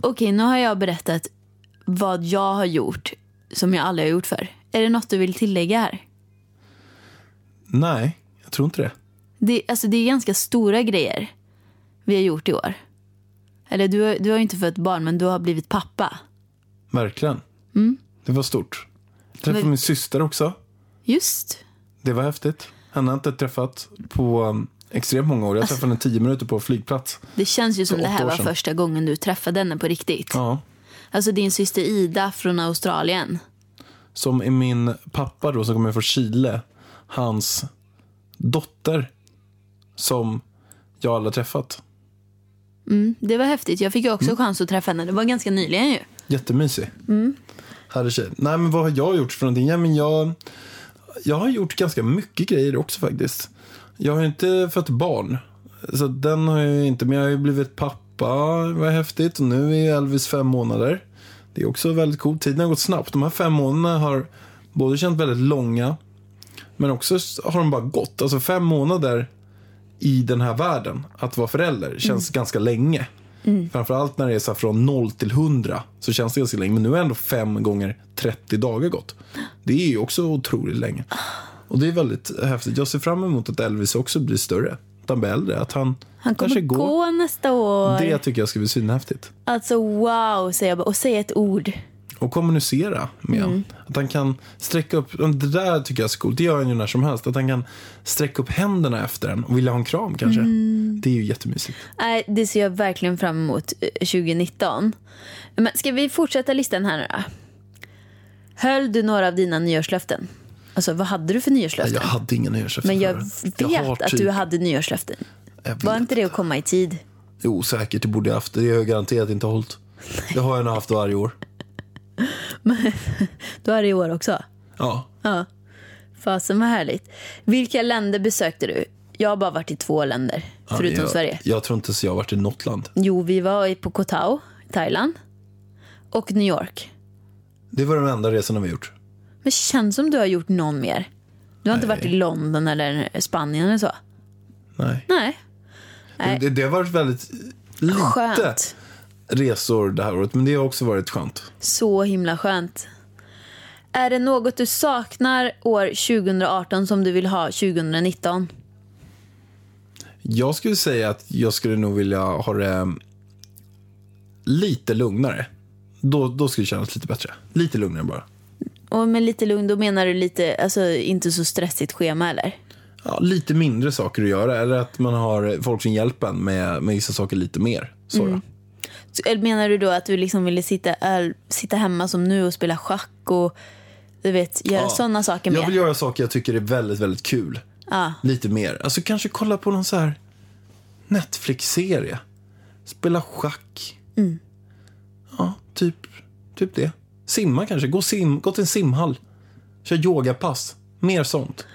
Speaker 4: Okej, nu har jag berättat vad jag har gjort som jag aldrig har gjort för. Är det något du vill tillägga här?
Speaker 3: Nej, jag tror inte det.
Speaker 4: Det, alltså, det är ganska stora grejer vi har gjort i år. Eller du, har- du har ju inte fött barn, men du har blivit pappa.
Speaker 3: Verkligen. Det var stort. Jag träffade
Speaker 4: Mm. Men-
Speaker 3: min syster också.
Speaker 4: Just.
Speaker 3: Det var häftigt. Henne har jag inte träffat på um, extremt många år. Jag träffade henne tio minuter på flygplats.
Speaker 4: Det känns ju som
Speaker 3: För
Speaker 4: det här
Speaker 3: åtta år
Speaker 4: var
Speaker 3: sedan.
Speaker 4: första gången du träffade henne på riktigt.
Speaker 3: Ja.
Speaker 4: Alltså din syster Ida från Australien.
Speaker 3: Som är min pappa då, som kommer från Chile. Hans dotter. Som jag aldrig har träffat.
Speaker 4: Det var häftigt. Jag fick ju
Speaker 3: Mm.
Speaker 4: också chans att träffa henne. Det var ganska nyligen ju.
Speaker 3: Jättemysig. Mm. Härlig tjej. Nej, men vad har jag gjort för någonting? Ja, men jag, jag har gjort ganska mycket grejer också faktiskt. Jag har ju inte fött barn. Så den har jag ju inte, men jag har ju blivit pappa. Vad häftigt. Och nu är Elvis fem månader. Det är också väldigt coolt. Tiden har gått snabbt. De här fem månaderna har både känt väldigt långa, men också har de bara gått. Alltså fem månader i den här världen, att vara förälder, känns
Speaker 4: Mm.
Speaker 3: ganska länge. Framförallt när det är så här från 0 till 100 så känns det ganska länge. Men nu har ändå 5 gånger 30 dagar gått. Det är ju också otroligt länge. Och det är väldigt häftigt. Jag ser fram emot att Elvis också blir större. Att han blir äldre. Att han,
Speaker 4: Han kommer
Speaker 3: kanske
Speaker 4: gå.
Speaker 3: går.
Speaker 4: nästa år.
Speaker 3: Det tycker jag ska bli svinhäftigt.
Speaker 4: Alltså wow, säger jag bara. Och säg ett ord.
Speaker 3: Och kommunicera med honom.
Speaker 4: Mm.
Speaker 3: Att han kan sträcka upp, och det där tycker jag är så coolt, det gör han ju när som helst. Att han kan sträcka upp händerna efter en och vilja ha en kram kanske.
Speaker 4: Mm.
Speaker 3: Det är ju jättemysigt.
Speaker 4: Nej, det ser jag verkligen fram emot eh, 2019. Men ska vi fortsätta listan här nu då? Höll du några av dina nyårslöften? Alltså vad hade du för
Speaker 3: Nej,
Speaker 4: nyårslöften?
Speaker 3: Jag hade ingen nyårslöften
Speaker 4: Alltså, Men jag
Speaker 3: förut.
Speaker 4: vet
Speaker 3: har
Speaker 4: att
Speaker 3: typ-
Speaker 4: du hade nyårslöften.
Speaker 3: jag vet.
Speaker 4: Var inte det att komma i tid?
Speaker 3: Jo, säkert. Det borde jag haft. Det har jag garanterat inte hållit. Det har jag nog haft varje år.
Speaker 4: Du har det i år också.
Speaker 3: Ja.
Speaker 4: Fasen vad härligt. Vilka länder besökte du? Jag har bara varit i två länder, förutom
Speaker 3: jag,
Speaker 4: Sverige.
Speaker 3: Jag tror inte så jag har varit i något land.
Speaker 4: Jo, vi var i- på Koh Tao, Thailand. Och New York.
Speaker 3: Det var de enda resorna vi gjort.
Speaker 4: Men känns som du har gjort någon mer. Du har inte
Speaker 3: Nej.
Speaker 4: varit i London eller Spanien eller så?
Speaker 3: Nej.
Speaker 4: Nej. Nej.
Speaker 3: Det, det har varit väldigt lite
Speaker 4: Skönt.
Speaker 3: resor det här året. Men det har också varit skönt.
Speaker 4: Så himla skönt. Är det något du saknar år 2018 som du vill ha 2019?
Speaker 3: Jag skulle säga att jag skulle nog vilja ha det lite lugnare. Då, då skulle det kännas lite bättre. Lite lugnare bara.
Speaker 4: Och med lite lugn, då menar du lite, alltså inte så stressigt schema eller?
Speaker 3: Ja, lite mindre saker att göra. Eller att man har folk som hjälper en med, med vissa saker lite mer. Så då.
Speaker 4: Så- Eller menar du då att du liksom ville sitta, öl- sitta hemma som nu och spela schack och du vet, göra sådana saker
Speaker 3: Jag
Speaker 4: med?
Speaker 3: vill göra saker jag tycker är väldigt, väldigt kul.
Speaker 4: Ja.
Speaker 3: Lite mer. Alltså kanske kolla på någon så här Netflix-serie. Spela schack. Ja, typ, typ det. Simma kanske. Gå, sim, gå till en simhall. Kör yogapass. Mer sånt.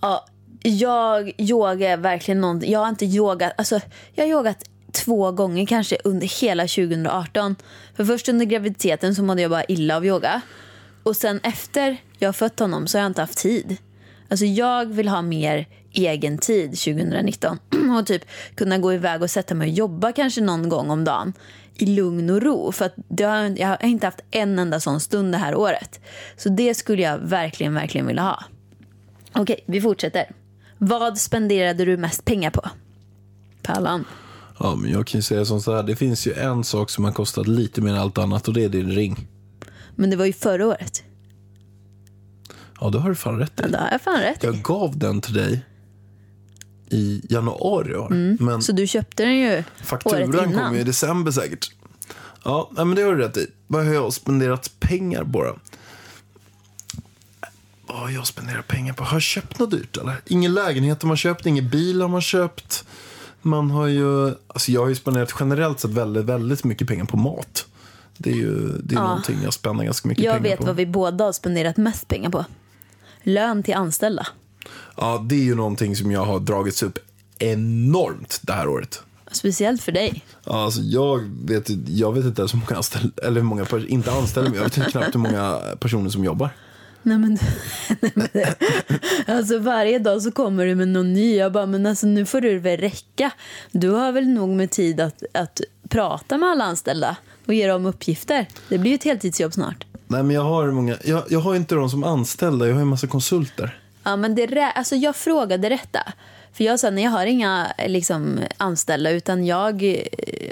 Speaker 4: Ja, jag yogar är verkligen någonting. Jag har inte yogat, alltså jag har yogat två gånger kanske under hela 2018. För först under graviditeten så mådde jag bara illa av yoga. Och sen efter jag fött honom så har jag inte haft tid. Alltså jag vill ha mer egen tid 2019 och typ kunna gå iväg och sätta mig och jobba kanske någon gång om dagen i lugn och ro. För att det har, jag har inte haft en enda sån stund det här året. Så det skulle jag verkligen, verkligen vilja ha. Okej, vi fortsätter. Vad spenderade du mest pengar på? Pallan.
Speaker 3: Ja, men jag kan ju säga som så här. Det finns ju en sak som har kostat lite mer än allt annat och det är din ring.
Speaker 4: Men det var ju förra året.
Speaker 3: Ja, det har du fan rätt i.
Speaker 4: Ja, det har jag fan rätt i.
Speaker 3: Jag gav den till dig i januari i år. Men
Speaker 4: Så du köpte den ju året
Speaker 3: Fakturan
Speaker 4: innan.
Speaker 3: kommer ju i december säkert. Ja, nej, men det har du rätt i. Vad har jag spenderat pengar på då? Vad har jag spenderat pengar på? Har jag köpt något dyrt eller? Ingen lägenhet har man köpt, ingen bil har man köpt. Man har ju, alltså jag har ju spenderat generellt sett väldigt, väldigt mycket pengar på mat. Det är ju det är någonting jag spenderar ganska mycket
Speaker 4: Jag
Speaker 3: pengar
Speaker 4: vet
Speaker 3: på.
Speaker 4: vad vi båda har spenderat mest pengar på. Lön till anställda.
Speaker 3: Ja, det är ju någonting som jag har dragits upp enormt det här året.
Speaker 4: Speciellt för dig.
Speaker 3: Ja, Alltså, jag, vet, jag vet inte ens hur många anställda, eller hur många, pers- inte anställda, men jag vet knappt hur många personer som jobbar.
Speaker 4: Nej men, nej, men det- alltså varje dag så kommer du med någon ny. Jag bara, men alltså nu får du väl räcka. Du har väl nog med tid att, att prata med alla anställda och ge dem uppgifter. Det blir ju ett heltidsjobb snart.
Speaker 3: Nej, men jag har många, jag, jag har ju inte dem som anställda, jag har ju en massa konsulter.
Speaker 4: Ja, men det, rä- alltså jag frågade detta. För jag sa, nej jag har inga eh, liksom, anställda utan jag eh,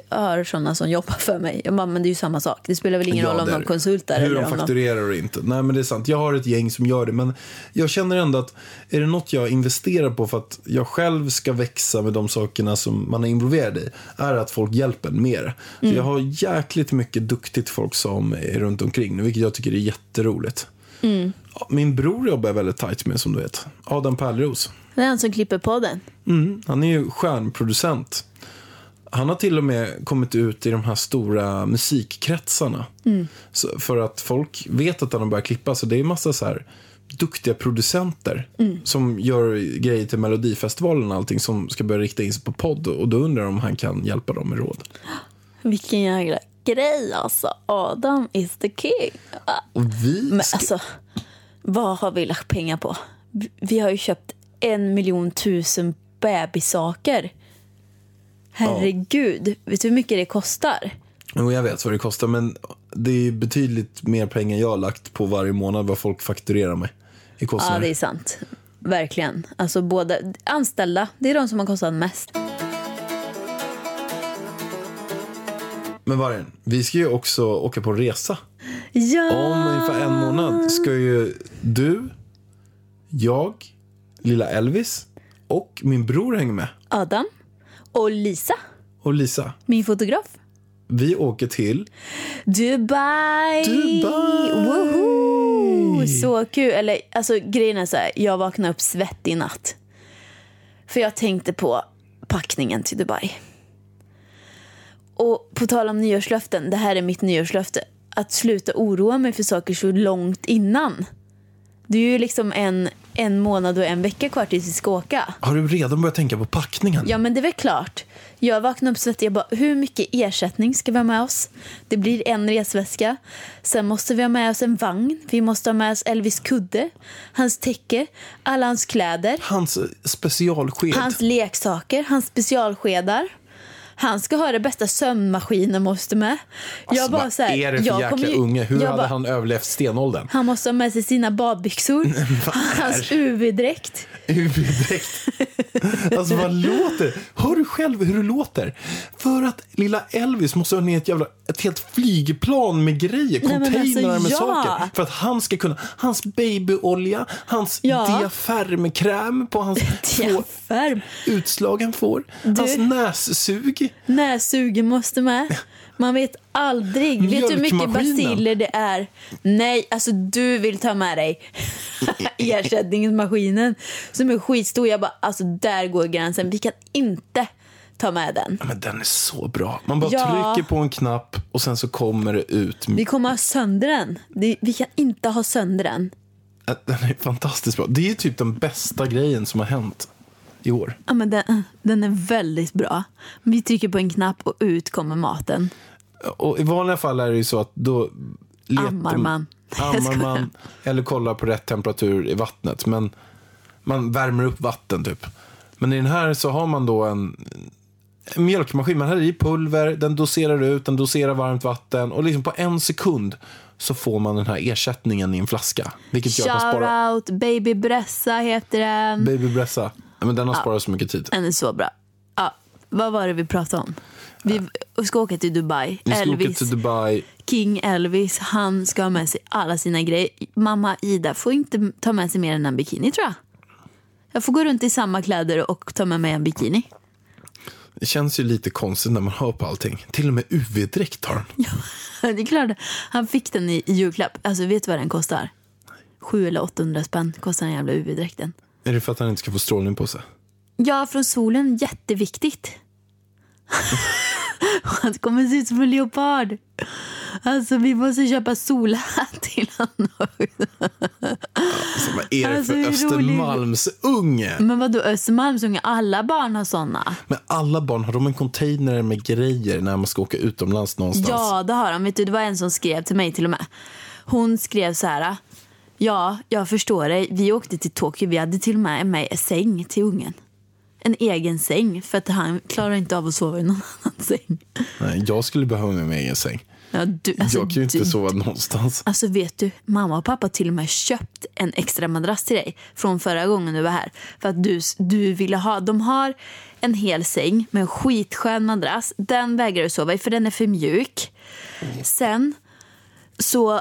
Speaker 4: har sådana som jobbar för mig. Jag bara, men det är ju samma sak. Det spelar väl ingen roll om
Speaker 3: det är
Speaker 4: de
Speaker 3: det.
Speaker 4: konsultar
Speaker 3: Hur
Speaker 4: eller
Speaker 3: de
Speaker 4: om de...
Speaker 3: fakturerar och inte. Nej, men det är sant. Jag har ett gäng som gör det, men jag känner ändå att är det något jag investerar på för att jag själv ska växa med de sakerna som man är involverad i, är att folk hjälper en mer.
Speaker 4: Mm.
Speaker 3: Så jag har jäkligt mycket duktigt folk som är runt omkring nu, vilket jag tycker är jätteroligt.
Speaker 4: Mm.
Speaker 3: Ja, Min bror jobbar jag väldigt tajt med, som du vet. Adam Pärleros.
Speaker 4: Det är han som klipper podden.
Speaker 3: Mm, han är ju stjärnproducent. Han har till och med kommit ut i de här stora musikkretsarna.
Speaker 4: Mm.
Speaker 3: Så, för att folk vet att han har börjat klippa. Så det är ju massa så här duktiga producenter
Speaker 4: Mm.
Speaker 3: som gör grejer till Melodifestivalen och allting som ska börja rikta in sig på podd. Och då undrar de om han kan hjälpa dem med råd.
Speaker 4: Vilken jävla grej alltså. Adam is the king. Ah,
Speaker 3: Och vi
Speaker 4: Men
Speaker 3: ska-
Speaker 4: alltså, vad har vi lagt pengar på? Vi- Vi har ju köpt en miljon tusen bebissaker. Herregud, vet du hur mycket det kostar?
Speaker 3: Jo, jag vet vad det kostar, men det är ju betydligt mer pengar jag har lagt på varje månad vad folk fakturerar mig i
Speaker 4: Ja,
Speaker 3: kostnader.
Speaker 4: det är sant. Verkligen. Alltså båda, anställda, det är de som har kostat mest.
Speaker 3: Men Vargen, vi ska ju också åka på en resa.
Speaker 4: Ja!
Speaker 3: Om ungefär en månad ska ju du, jag, lilla Elvis och min bror hänga med.
Speaker 4: Adam och Lisa,
Speaker 3: Och Lisa,
Speaker 4: min fotograf.
Speaker 3: vi åker till...
Speaker 4: Dubai!
Speaker 3: Dubai!
Speaker 4: Woho! Så kul. Eller, alltså, grejen är så här, jag vaknade upp svettig i natt. För jag tänkte på packningen till Dubai. Och på tal om nyårslöften, det här är mitt nyårslöfte. Att sluta oroa mig för saker så långt innan. Det är ju liksom en, en månad och en vecka kvar tills vi ska åka.
Speaker 3: Har du redan börjat tänka på packningen?
Speaker 4: Ja, men det är väl klart. Jag vaknade upp svettig. Jag bara, hur mycket ersättning ska vi ha med oss? Det blir en resväska. Sen måste vi ha med oss en vagn. Vi måste ha med oss Elvis kudde, hans täcke, alla hans kläder,
Speaker 3: Hans specialsked.
Speaker 4: hans leksaker, hans specialskedar. Han ska ha det bästa sömnmaskinen måste med. Jag
Speaker 3: Alltså,
Speaker 4: bara
Speaker 3: vad
Speaker 4: så här,
Speaker 3: är det för
Speaker 4: jag
Speaker 3: jäkla
Speaker 4: kommer ju-
Speaker 3: unge? Hur
Speaker 4: jag
Speaker 3: hade
Speaker 4: bara-
Speaker 3: han överlevt stenåldern?
Speaker 4: Han måste ha med sig sina badbyxor, hans UV-dräkt.
Speaker 3: Huvuddräkt. Alltså vad låter? Hör du själv hur det låter? För att lilla Elvis måste ha ner ett, jävla, ett helt flygplan med grejer,
Speaker 4: men alltså,
Speaker 3: containrar med
Speaker 4: ja.
Speaker 3: saker. För att han ska kunna, hans babyolja, hans
Speaker 4: Ja.
Speaker 3: diafermkräm på hans två
Speaker 4: Diafärm.
Speaker 3: utslag han får, hans nässug.
Speaker 4: Näsugen måste med. Man vet aldrig. Vet du hur mycket
Speaker 3: Mjölkmaskinen.
Speaker 4: basiller det är? Nej, alltså du vill ta med dig ersättningsmaskinen som är skitstor. Jag bara, alltså där går gränsen. Vi kan inte ta med den.
Speaker 3: Men den är så bra. Man bara
Speaker 4: Ja.
Speaker 3: trycker på en knapp och sen så kommer det ut.
Speaker 4: Vi kommer ha sönder den. Det- Vi kan inte ha sönder den.
Speaker 3: Äh, Den är fantastiskt bra. Det är typ den bästa grejen som har hänt i år.
Speaker 4: Ja, men den, den är väldigt bra. Vi trycker på en knapp och ut kommer maten.
Speaker 3: Och I vanliga fall är det ju så att då... letar-
Speaker 4: Ammar man. Jag
Speaker 3: Ammar
Speaker 4: skojar.
Speaker 3: man eller kollar på rätt temperatur i vattnet. Men man värmer upp vatten typ. Men i den här så har man då en, en mjölkmaskin. Man häller i pulver, den doserar ut, den doserar varmt vatten. Och liksom på en sekund så får man den här ersättningen i en flaska. Vilket gör att man sparar...
Speaker 4: Shoutout, Baby Bressa heter den.
Speaker 3: Baby Bressa. Ja, Men den har sparat så mycket tid.
Speaker 4: Den är så bra. Ja, vad var det vi pratade om? Vi ska åka till Dubai.
Speaker 3: Vi ska åka
Speaker 4: Elvis,
Speaker 3: till Dubai.
Speaker 4: King Elvis, han ska ha med sig alla sina grejer. Mamma Ida får inte ta med sig mer än en bikini tror jag. Jag får gå runt i samma kläder och ta med mig en bikini.
Speaker 3: Det känns ju lite konstigt när man hör på allting. Till och med UV-dräkt har den.
Speaker 4: Det är klart, han fick den i i julklapp. Alltså vet du vad den kostar? 700 eller 800 spänn kostar den jävla UV-dräkten.
Speaker 3: Är det för att han inte ska få strålning på sig?
Speaker 4: Ja, från solen, jätteviktigt. Han kommer se ut som en leopard. Alltså vi måste köpa solhatt till honom.
Speaker 3: Alltså, vad är det
Speaker 4: Alltså,
Speaker 3: för
Speaker 4: hur rolig-
Speaker 3: Östermalmsunge?
Speaker 4: Men vadå Östermalmsunge, alla barn har såna.
Speaker 3: Men alla barn, har de en container med grejer när man ska åka utomlands någonstans?
Speaker 4: Ja, det har de. Vet du, det var en som skrev till mig till och med. Hon skrev så här. Ja, jag förstår dig. Vi åkte till Tokyo. Vi hade till och med med en säng till ungen. En egen säng, för att han klarar inte av att sova i någon annan säng.
Speaker 3: Nej, jag skulle behöva min egen säng.
Speaker 4: Ja, du, alltså,
Speaker 3: jag kan ju inte
Speaker 4: du,
Speaker 3: sova någonstans.
Speaker 4: Alltså vet du, mamma och pappa har till och med köpt en extra madrass till dig från förra gången du var här. För att du, du ville ha, de har en hel säng med en skitskön madrass. Den vägrar du sova i för den är för mjuk. Sen så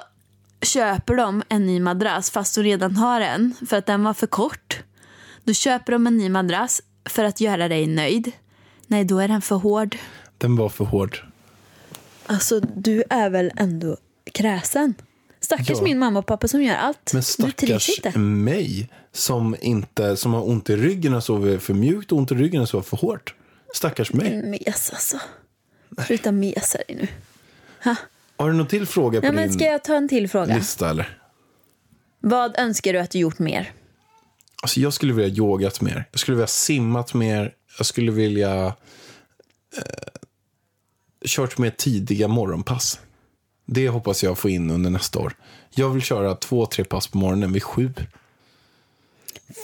Speaker 4: köper de en ny madrass fast du redan har en för att den var för kort. Då köper de en ny madrass för att göra dig nöjd. Nej, då är den för hård.
Speaker 3: Den var för hård.
Speaker 4: Alltså, du är väl ändå kräsen? Stackars
Speaker 3: Ja.
Speaker 4: min mamma och pappa som gör allt.
Speaker 3: Men
Speaker 4: du trivs
Speaker 3: stackars
Speaker 4: inte.
Speaker 3: mig som, inte, som har ont i ryggen och sover för mjukt och ont i ryggen och sover för hårt. Stackars mig.
Speaker 4: Mes alltså. Sluta mesa dig nu.
Speaker 3: Har du någon till fråga på
Speaker 4: Ja, men
Speaker 3: din
Speaker 4: ska jag ta en till fråga?
Speaker 3: lista? Eller?
Speaker 4: Vad önskar du att du gjort mer?
Speaker 3: Alltså, jag skulle vilja yogat mer. Jag skulle vilja simmat mer. Jag skulle vilja eh, kört mer tidiga morgonpass. Det hoppas jag få in under nästa år. Jag vill köra två, tre pass på morgonen vid sju.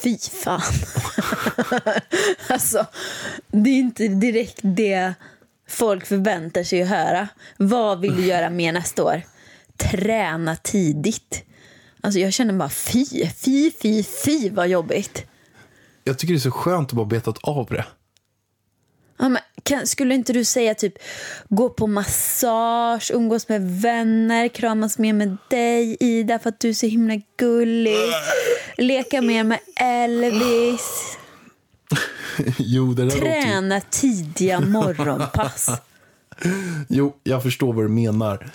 Speaker 4: Fy fan. alltså, det är inte direkt det folk förväntar sig att höra. Vad vill du göra mer nästa år? Träna tidigt. Alltså jag känner bara fy, fy, fy, fy vad jobbigt.
Speaker 3: Jag tycker det är så skönt att bara betat av det.
Speaker 4: Ja, men kan, skulle inte du säga typ gå på massage, umgås med vänner, kramas mer med dig Ida för att du är så himla gullig. Leka mer med Elvis.
Speaker 3: Jo, det där låter ju...
Speaker 4: Träna tidiga morgonpass.
Speaker 3: jo, jag förstår vad du menar.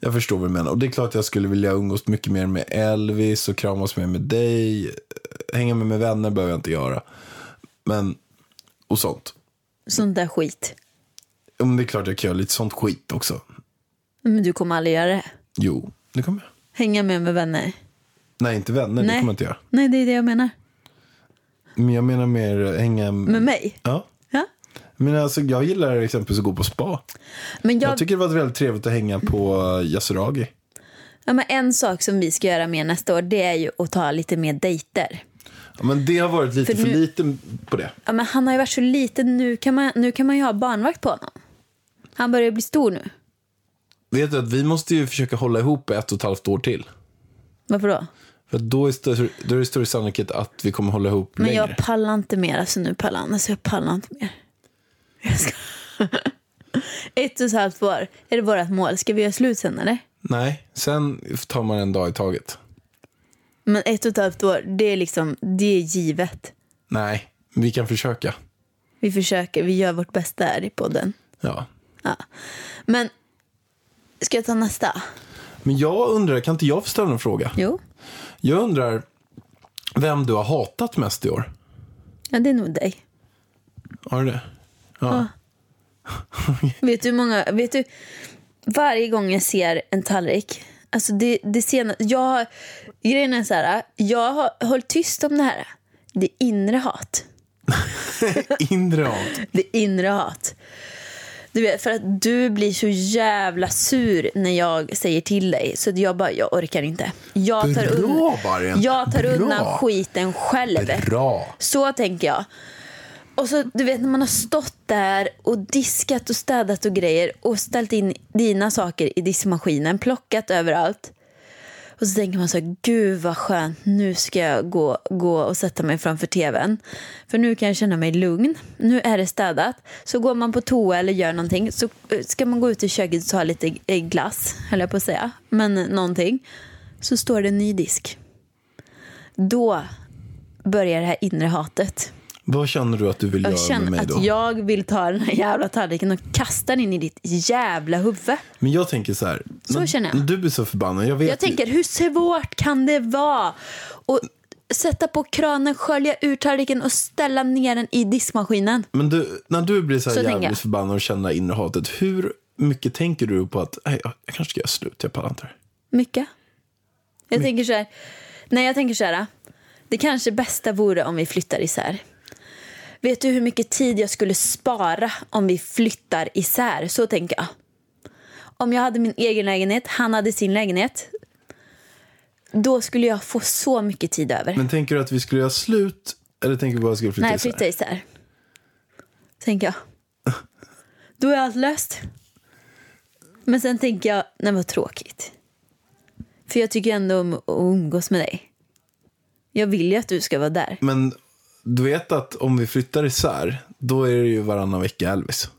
Speaker 3: Jag förstår vad du menar. Och det är klart att jag skulle vilja umgås mycket mer med Elvis och kramas mer med dig. Hänga med med vänner behöver jag inte göra. Men, och sånt.
Speaker 4: Sånt där skit.
Speaker 3: Ja, men det är klart jag kan göra lite sånt skit också.
Speaker 4: Men du kommer aldrig göra det.
Speaker 3: Jo, det kommer jag.
Speaker 4: Hänga med med vänner.
Speaker 3: Nej, inte vänner. Det
Speaker 4: Nej.
Speaker 3: kommer jag inte göra.
Speaker 4: Nej, det är det jag menar.
Speaker 3: Men jag menar mer eh, hänga...
Speaker 4: Med mig.
Speaker 3: Ja.
Speaker 4: Ja.
Speaker 3: Men alltså, jag gillar exempelvis att gå på spa.
Speaker 4: Men
Speaker 3: Jag,
Speaker 4: jag,
Speaker 3: tycker det var väldigt trevligt att hänga på eh, Yasuragi.
Speaker 4: ja, men en sak som vi ska göra mer nästa år det är ju att ta lite mer dejter.
Speaker 3: Ja, men det har varit lite
Speaker 4: För
Speaker 3: för,
Speaker 4: nu-
Speaker 3: lite på det.
Speaker 4: Ja, men han har ju varit så liten. Nu kan man, nu kan man ju ha barnvakt på honom. Han börjar ju bli stor nu.
Speaker 3: Vet du att vi måste ju försöka hålla ihop ett och ett halvt år till.
Speaker 4: Varför då?
Speaker 3: För att då är, större, då är det större sannolikhet att vi kommer hålla ihop
Speaker 4: Men
Speaker 3: längre.
Speaker 4: jag pallar inte mer. Alltså nu pallar han. Alltså jag pallar inte mer. Jag ska... Ett och ett halvt år är det vårt mål. Ska vi göra slut sen eller?
Speaker 3: Nej, sen tar man en dag i taget.
Speaker 4: Men ett och ett halvt år, det är liksom, det är givet.
Speaker 3: Nej, vi kan försöka.
Speaker 4: Vi försöker, vi gör vårt bästa här i podden.
Speaker 3: Ja.
Speaker 4: Men Ska jag ta nästa?
Speaker 3: Men jag undrar, kan inte jag få ställa en fråga?
Speaker 4: Jo.
Speaker 3: Jag undrar vem du har hatat mest i år?
Speaker 4: Ja, det är nog dig.
Speaker 3: Har du det?
Speaker 4: Ja. vet du hur många... Vet du, varje gång jag ser en tallrik... Alltså det, det sena, jag har, grejen är så här, jag har hållit tyst om det här. Det inre hat.
Speaker 3: Inre hat.
Speaker 4: Det inre hat. Du vet, för att du blir så jävla sur när jag säger till dig. Så att jag bara, jag orkar inte. Jag tar,
Speaker 3: Bra,
Speaker 4: un-
Speaker 3: Bargen.
Speaker 4: jag tar
Speaker 3: Bra.
Speaker 4: undan skiten själv.
Speaker 3: Bra.
Speaker 4: Så tänker jag. Och så du vet när man har stått där och diskat och städat och grejer och ställt in dina saker i diskmaskinen, plockat överallt. Och så tänker man så här, gud vad skönt, nu ska jag gå, gå och sätta mig framför tvn. För nu kan jag känna mig lugn, nu är det städat. Så går man på toa eller gör någonting, så eh, ska man gå ut i köket och ha lite eh, glass, höll jag på att säga, men eh, någonting. Så står det en ny disk. Då börjar det här inre hatet.
Speaker 3: Vad känner du att du vill
Speaker 4: Jag
Speaker 3: göra med
Speaker 4: känner
Speaker 3: mig
Speaker 4: att
Speaker 3: då?
Speaker 4: jag vill ta den här jävla tallriken och kasta den in i ditt jävla huvud.
Speaker 3: Men jag tänker så här.
Speaker 4: Så
Speaker 3: när
Speaker 4: känner jag.
Speaker 3: Du blir så förbannad. Jag vet
Speaker 4: Jag tänker, hur svårt kan det vara? Och sätta på kranen, skölja ur tallriken och ställa ner den i diskmaskinen.
Speaker 3: Men du, när du blir så här
Speaker 4: Så tänker
Speaker 3: jävligt
Speaker 4: jag.
Speaker 3: förbannad och känner det här inre hatet. Hur mycket tänker du på att "Nej, jag, jag kanske ska göra slut, jag pallar inte det här."
Speaker 4: Mycket. Jag tänker så här. Nej, jag tänker så här. Det kanske bästa vore om vi flyttar isär. Vet du hur mycket tid jag skulle spara om vi flyttar isär? Så tänker jag. Om jag hade min egen lägenhet, han hade sin lägenhet. Då skulle jag få så mycket tid över.
Speaker 3: Men tänker du att vi skulle göra slut eller tänker du bara att vi skulle flytta
Speaker 4: Nej,
Speaker 3: isär?
Speaker 4: flytta isär. Tänker jag. Då är allt löst. Men sen tänker jag, nej vad tråkigt. För jag tycker ändå om att umgås med dig. Jag vill ju att du ska vara där.
Speaker 3: Men du vet att om vi flyttar isär, då är det ju varannan vecka Elvis.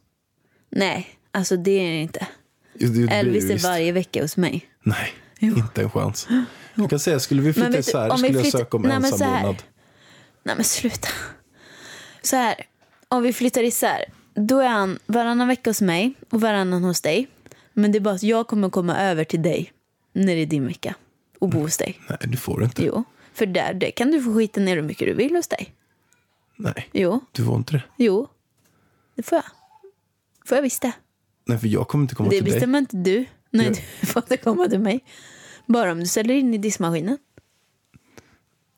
Speaker 4: Nej, alltså det är det inte.
Speaker 3: Jo, det- det blir det
Speaker 4: Elvis
Speaker 3: ju
Speaker 4: är
Speaker 3: visst.
Speaker 4: varje vecka hos mig.
Speaker 3: Nej,
Speaker 4: Jo.
Speaker 3: inte en chans. Jag kan säga, skulle vi
Speaker 4: Men
Speaker 3: flytta
Speaker 4: vet du,
Speaker 3: isär
Speaker 4: om vi
Speaker 3: skulle jag
Speaker 4: flytt-
Speaker 3: söka om
Speaker 4: Nej, men
Speaker 3: ensam
Speaker 4: så här.
Speaker 3: vårdnad.
Speaker 4: Nej men sluta. Så här, om vi flyttar isär. Då är han varannan vecka hos mig och varannan hos dig. Men det är bara att jag kommer komma över till dig när det är din vecka och bo hos dig.
Speaker 3: Nej, du får inte.
Speaker 4: Jo, för där, där kan du få skita ner hur mycket du vill hos dig.
Speaker 3: Nej,
Speaker 4: Jo,
Speaker 3: du får inte det.
Speaker 4: jo. Det får jag. får jag visst det.
Speaker 3: Nej, för jag kommer inte komma
Speaker 4: Det
Speaker 3: till dig.
Speaker 4: bestämmer inte du. Nej,
Speaker 3: Jo.
Speaker 4: du får inte komma till mig. Bara om du ställer in i diskmaskinen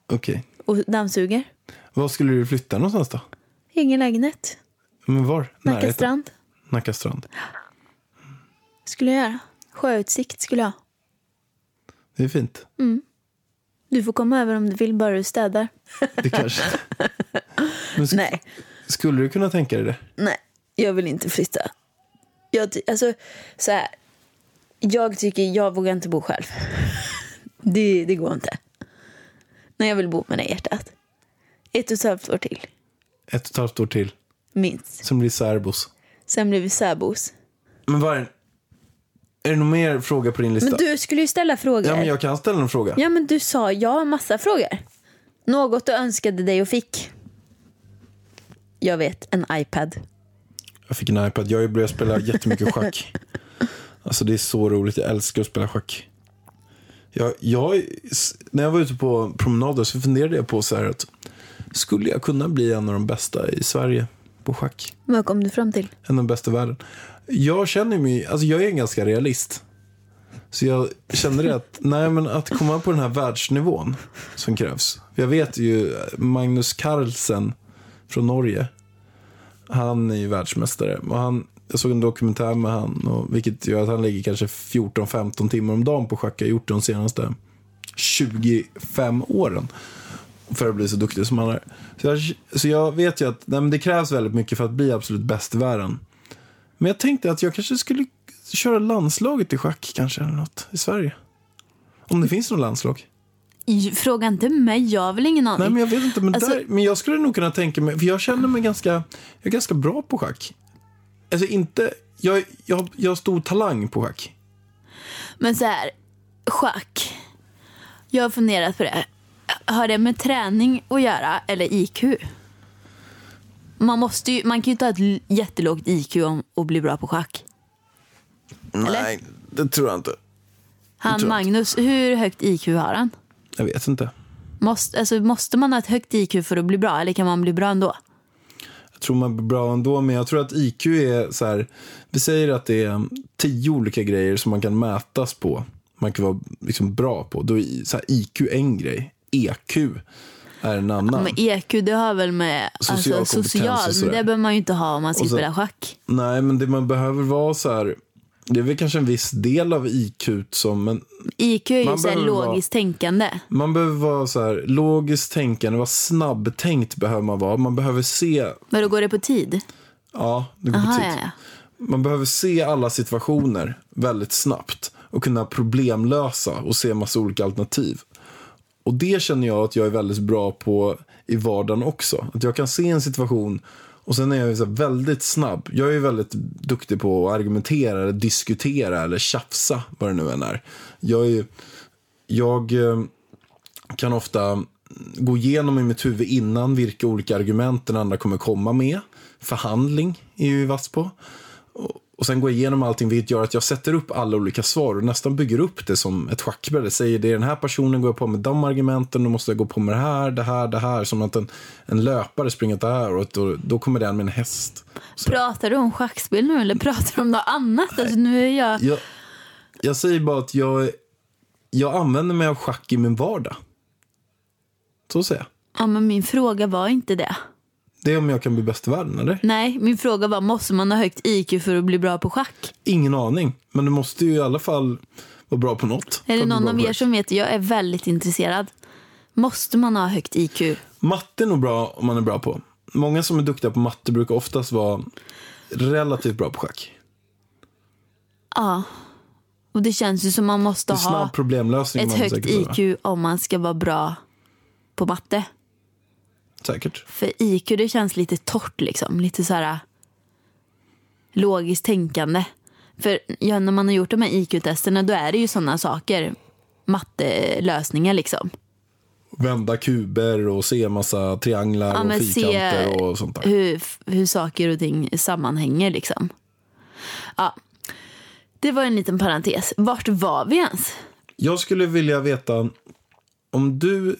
Speaker 3: Okej.
Speaker 4: och dammsuger.
Speaker 3: Var skulle du flytta någonstans då?
Speaker 4: Egen lägenhet.
Speaker 3: Men var?
Speaker 4: Nacka
Speaker 3: Närheten?
Speaker 4: strand.
Speaker 3: Nacka strand.
Speaker 4: Skulle jag göra. Sjöutsikt skulle jag ha.
Speaker 3: Det är fint.
Speaker 4: Du får komma över om du vill, bara du städar.
Speaker 3: Det kanske... Men sk-
Speaker 4: Nej,
Speaker 3: Skulle du kunna tänka dig det?
Speaker 4: nej. Jag vill inte flytta. Jag, ty- alltså, så här. Jag tycker, jag vågar inte bo själv. Det, det går inte. Nej, jag vill bo med dig i hjärtat. Ett och ett halvt år till,
Speaker 3: Ett och ett halvt år till.
Speaker 4: minst.
Speaker 3: Sen blir särbos.
Speaker 4: Sen blir vi särbos.
Speaker 3: Men var Är det någon mer fråga på din lista?
Speaker 4: Men du skulle ju ställa frågor.
Speaker 3: Ja, men jag kan ställa en fråga.
Speaker 4: ja, men du sa, jag har massa frågor. Något du önskade dig och fick. Jag vet, en iPad.
Speaker 3: Jag fick en iPad. Jag har ju börjat spela jättemycket schack. Alltså det är så roligt. Jag älskar att spela schack. Jag, jag, när jag var ute på promenader så funderade jag på så här att skulle jag kunna bli en av de bästa i Sverige på schack?
Speaker 4: Vad kom du fram till?
Speaker 3: En av de bästa i världen. Jag känner mig, alltså jag är en ganska realist. Så jag känner det att, nej men att komma på den här världsnivån som krävs. För Jag vet ju Magnus Carlsen från Norge. Han är ju världsmästare. Och han, jag såg en dokumentär med han, och, vilket gör att han lägger kanske 14-15 timmar om dagen på schack. Jag har gjort det de senaste 25 åren för att bli så duktig som han är. Så jag, så jag vet ju att nej, men det krävs väldigt mycket för att bli absolut bäst i världen. Men jag tänkte att jag kanske skulle köra landslaget i schack kanske eller något i Sverige. Om det finns något landslag.
Speaker 4: Fråga inte mig, jag har väl ingen aning.
Speaker 3: Nej men jag vet inte, men,
Speaker 4: Alltså-
Speaker 3: där, men jag skulle nog kunna tänka mig, för jag känner mig ganska, jag är ganska bra på schack. Alltså inte, jag, jag, jag har stor talang på schack.
Speaker 4: Men så här, schack. Jag har funderat på det. Har det med träning att göra eller IQ? Man, måste ju, man kan ju inte ha ett l- jättelågt IQ om och bli bra på schack.
Speaker 3: Nej, det tror jag inte.
Speaker 4: Han
Speaker 3: tror jag
Speaker 4: Magnus, hur högt IQ har han?
Speaker 3: Jag vet inte.
Speaker 4: Måste, alltså, måste man ha ett högt IQ för att bli bra eller kan man bli bra ändå?
Speaker 3: Jag tror man blir bra ändå, men jag tror att IQ är så här. Vi säger att det är tio olika grejer som man kan mätas på. Man kan vara liksom bra på. Då är i- så här, IQ en grej. EQ är en annan.
Speaker 4: Men EQ det har väl med
Speaker 3: Social
Speaker 4: alltså,
Speaker 3: kompetens
Speaker 4: social
Speaker 3: och
Speaker 4: men
Speaker 3: sådär.
Speaker 4: det behöver man ju inte ha om man ska
Speaker 3: så-
Speaker 4: spela schack.
Speaker 3: Nej, men det man behöver vara så här. Det är väl kanske en viss del av IQ som, men
Speaker 4: IQ är ju
Speaker 3: Man
Speaker 4: såhär
Speaker 3: behöver vara-
Speaker 4: logiskt tänkande.
Speaker 3: man behöver vara så här logiskt tänkande, vara snabbtänkt behöver man vara. Man behöver se,
Speaker 4: Men då går det på tid?
Speaker 3: ja, det går på
Speaker 4: Aha,
Speaker 3: tid.
Speaker 4: ja, ja.
Speaker 3: Man behöver se alla situationer väldigt snabbt och kunna problemlösa och se massa olika alternativ. Och det känner jag att jag är väldigt bra på i vardagen också. Att jag kan se en situation och sen är jag ju så här väldigt snabb. Jag är ju väldigt duktig på att argumentera eller diskutera eller tjafsa vad det nu än är. Jag, är ju, jag eh, kan ofta gå igenom i mitt huvud innan vilka olika argument den andra kommer komma med. Förhandling är jag ju vass på. Och sen går jag igenom allting vilket gör att jag sätter upp alla olika svar och nästan bygger upp det som ett schackbräde. Säger det är den här personen, går jag på med de argumenten, då måste jag gå på med det här, det här, det här. Som att en, en löpare springer åt det här och då, då kommer den med en häst.
Speaker 4: Alltså, Pratar du om schackspel nu eller pratar du om något annat? Alltså, nu är jag...
Speaker 3: Jag, jag säger bara att jag, jag använder mig av schack i min vardag. Så säger jag.
Speaker 4: Ja, men min fråga var inte det.
Speaker 3: Det är om jag kan bli bäst i världen, eller?
Speaker 4: Nej, min fråga var måste man ha högt IQ för att bli bra på schack?
Speaker 3: Ingen aning. Men du måste ju i alla fall vara bra på något.
Speaker 4: Är
Speaker 3: för
Speaker 4: det
Speaker 3: att bli
Speaker 4: någon
Speaker 3: bra
Speaker 4: av
Speaker 3: på
Speaker 4: er
Speaker 3: det.
Speaker 4: som vet? Jag är väldigt intresserad. Måste man ha högt IQ?
Speaker 3: Matte är nog bra om man är bra på. Många som är duktiga på matte brukar oftast vara relativt bra på schack.
Speaker 4: Ja. Och det känns ju som man måste
Speaker 3: Det är
Speaker 4: ha
Speaker 3: snabb problemlösning.
Speaker 4: ett
Speaker 3: man
Speaker 4: högt
Speaker 3: säkert behöver.
Speaker 4: IQ om man ska vara bra på matte.
Speaker 3: Säkert.
Speaker 4: För IQ det känns lite torrt liksom. Lite så här äh, logiskt tänkande. För ja, när man har gjort de här IQ-testerna då är det ju sådana saker. Mattelösningar liksom.
Speaker 3: Vända kuber och se massa trianglar
Speaker 4: Ja,
Speaker 3: och
Speaker 4: men se-
Speaker 3: fyrkanter och sånt där.
Speaker 4: Hur, f- hur saker och ting sammanhänger liksom. Ja. Det var en liten parentes. Vart var vi ens?
Speaker 3: Jag skulle vilja veta om du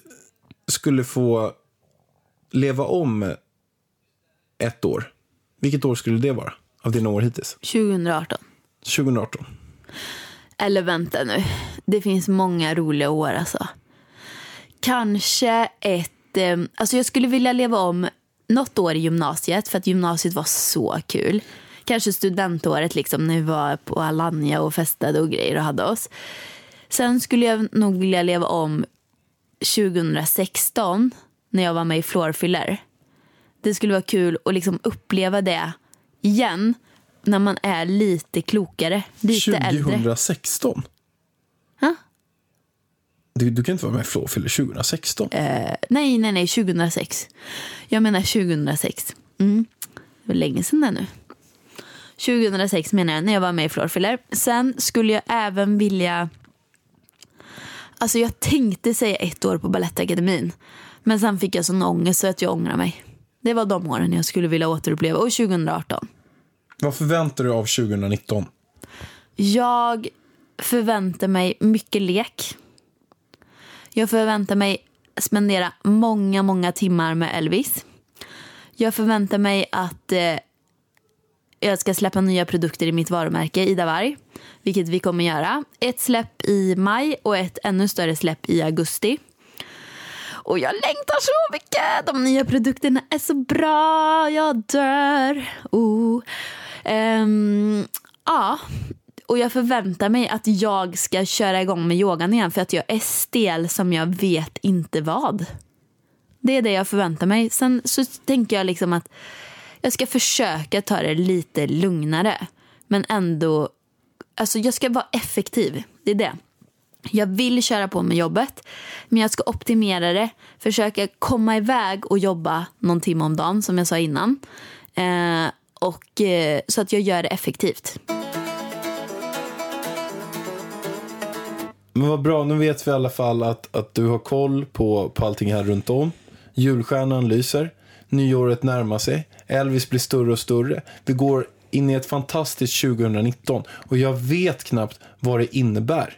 Speaker 3: skulle få leva om ett år. Vilket år skulle det vara av dina år hittills?
Speaker 4: 2018.
Speaker 3: 2018.
Speaker 4: Eller vänta nu. Det finns många roliga år alltså. Kanske ett... Eh, alltså jag skulle vilja leva om något år i gymnasiet för att gymnasiet var så kul. Kanske studentåret liksom när vi var på Alanya och festade och grejer och hade oss. Sen skulle jag nog vilja leva om 2016 när jag var med i Floorfiller. Det skulle vara kul att liksom uppleva det igen när man är lite klokare, lite äldre.
Speaker 3: 2016?
Speaker 4: Ja.
Speaker 3: Du, du kan inte vara med i Flow fyller 2016.
Speaker 4: Eh. Nej, nej, nej, 2006. Jag menar 2006. Mm. Det var länge sedan det nu. 2006 menar jag, när jag var med i Florfiller. Sen skulle jag även vilja... Alltså jag tänkte säga ett år på Balettakademin. Men sen fick jag sån ångest så att jag ångrar mig. Det var de åren jag skulle vilja återuppleva. Och 2018.
Speaker 3: Vad förväntar du av 2019?
Speaker 4: Jag förväntar mig mycket lek. Jag förväntar mig spendera många, många timmar med Elvis. Jag förväntar mig att eh, jag ska släppa nya produkter i mitt varumärke Ida Varg, vilket vi kommer göra. Ett släpp i maj och ett ännu större släpp i augusti. Och jag längtar så mycket! De nya produkterna är så bra, jag dör. Oh. Ehm, ja, och jag förväntar mig att jag ska köra igång med yogan igen för att jag är stel som jag vet inte vad. Det är det jag förväntar mig. Sen så tänker jag liksom att jag ska försöka ta det lite lugnare. Men ändå, alltså jag ska vara effektiv. Det är det. Jag vill köra på med jobbet, men jag ska optimera det. Försöka komma iväg och jobba någon timme om dagen, som jag sa innan. Eh, och, eh, så att jag gör det effektivt.
Speaker 3: Men vad bra, nu vet vi i alla fall att, att du har koll på, på allting här runt om. Julstjärnan lyser, nyåret närmar sig, Elvis blir större och större. Vi går in i ett fantastiskt 2019 och jag vet knappt vad det innebär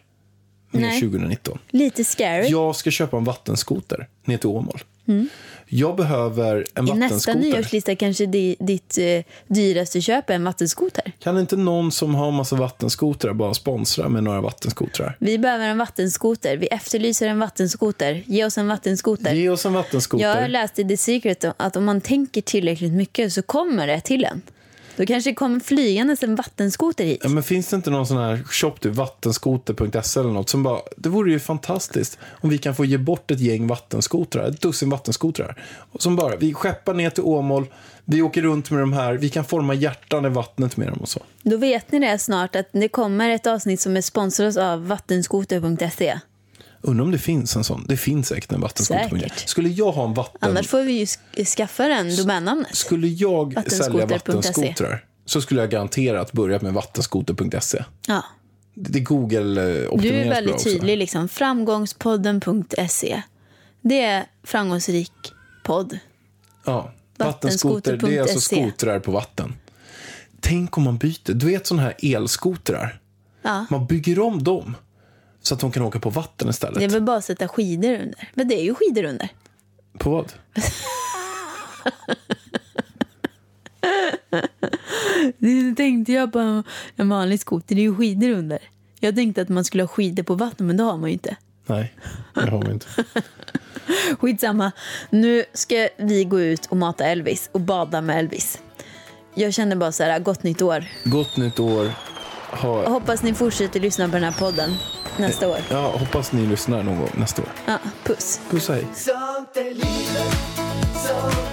Speaker 3: med
Speaker 4: Nej.
Speaker 3: 2019.
Speaker 4: Lite scary.
Speaker 3: Jag ska köpa en vattenskoter ner till Åmål. Jag behöver en
Speaker 4: Mm. I nästa
Speaker 3: vattenskoter.
Speaker 4: nyårslista kanske di, ditt eh, dyraste köp är en vattenskoter.
Speaker 3: Kan inte någon som har massa vattenskotrar bara sponsra med några vattenskotrar?
Speaker 4: Vi behöver en vattenskoter. Vi efterlyser en vattenskoter. Ge oss en vattenskoter.
Speaker 3: Ge oss en vattenskoter.
Speaker 4: Jag läste i The Secret att om man tänker tillräckligt mycket så kommer det till en. Då kanske det kommer flygandes en vattenskoter hit.
Speaker 3: Ja, men finns det inte någon sån här shop, typ vattenskoter.se eller något, som bara, det vore ju fantastiskt om vi kan få ge bort ett gäng vattenskotrar, ett dussin vattenskotrar. Och Som bara, vi skeppar ner till Åmål, vi åker runt med de här, vi kan forma hjärtan i vattnet med dem och så.
Speaker 4: Då vet ni det snart att det kommer ett avsnitt som är sponsrat av vattenskoter.se.
Speaker 3: Undrar om det finns en sån, det finns säkert en vattenskoter.
Speaker 4: Säkert.
Speaker 3: Skulle jag ha en vatten...
Speaker 4: Annars får vi ju sk- skaffa den domännamnet.
Speaker 3: Skulle jag sälja
Speaker 4: Vattenskoter.se.
Speaker 3: vattenskotrar så skulle jag garanterat börja med vattenskoter.se.
Speaker 4: Ja.
Speaker 3: Det är Google eh,
Speaker 4: Du
Speaker 3: optimerat
Speaker 4: är väldigt tydlig. Liksom. Framgångspodden.se. Det är framgångsrik podd.
Speaker 3: Ja, vattenskoter, det är alltså
Speaker 4: Vattenskoter.se.
Speaker 3: skotrar på vatten. Tänk om man byter, du vet sådana här elskotrar?
Speaker 4: Ja.
Speaker 3: Man bygger om dem så att de kan åka på vatten istället.
Speaker 4: Det är väl bara att sätta skidor under. Men det är ju skidor under.
Speaker 3: På vad?
Speaker 4: Nu tänkte jag på en- en vanlig skoter. Det är ju skidor under. Jag tänkte att man skulle ha skidor på vatten, men det har man ju inte.
Speaker 3: Nej, det har vi inte.
Speaker 4: Skitsamma. Nu ska vi gå ut och mata Elvis och bada med Elvis. Jag känner bara så här, gott nytt år.
Speaker 3: Gott nytt år.
Speaker 4: Jag
Speaker 3: Ha,
Speaker 4: hoppas ni fortsätter lyssna på den här podden nästa år.
Speaker 3: ja, hoppas ni lyssnar någon gång nästa år.
Speaker 4: Ja, puss.
Speaker 3: Puss och hej.
Speaker 2: Sånt är livet, sånt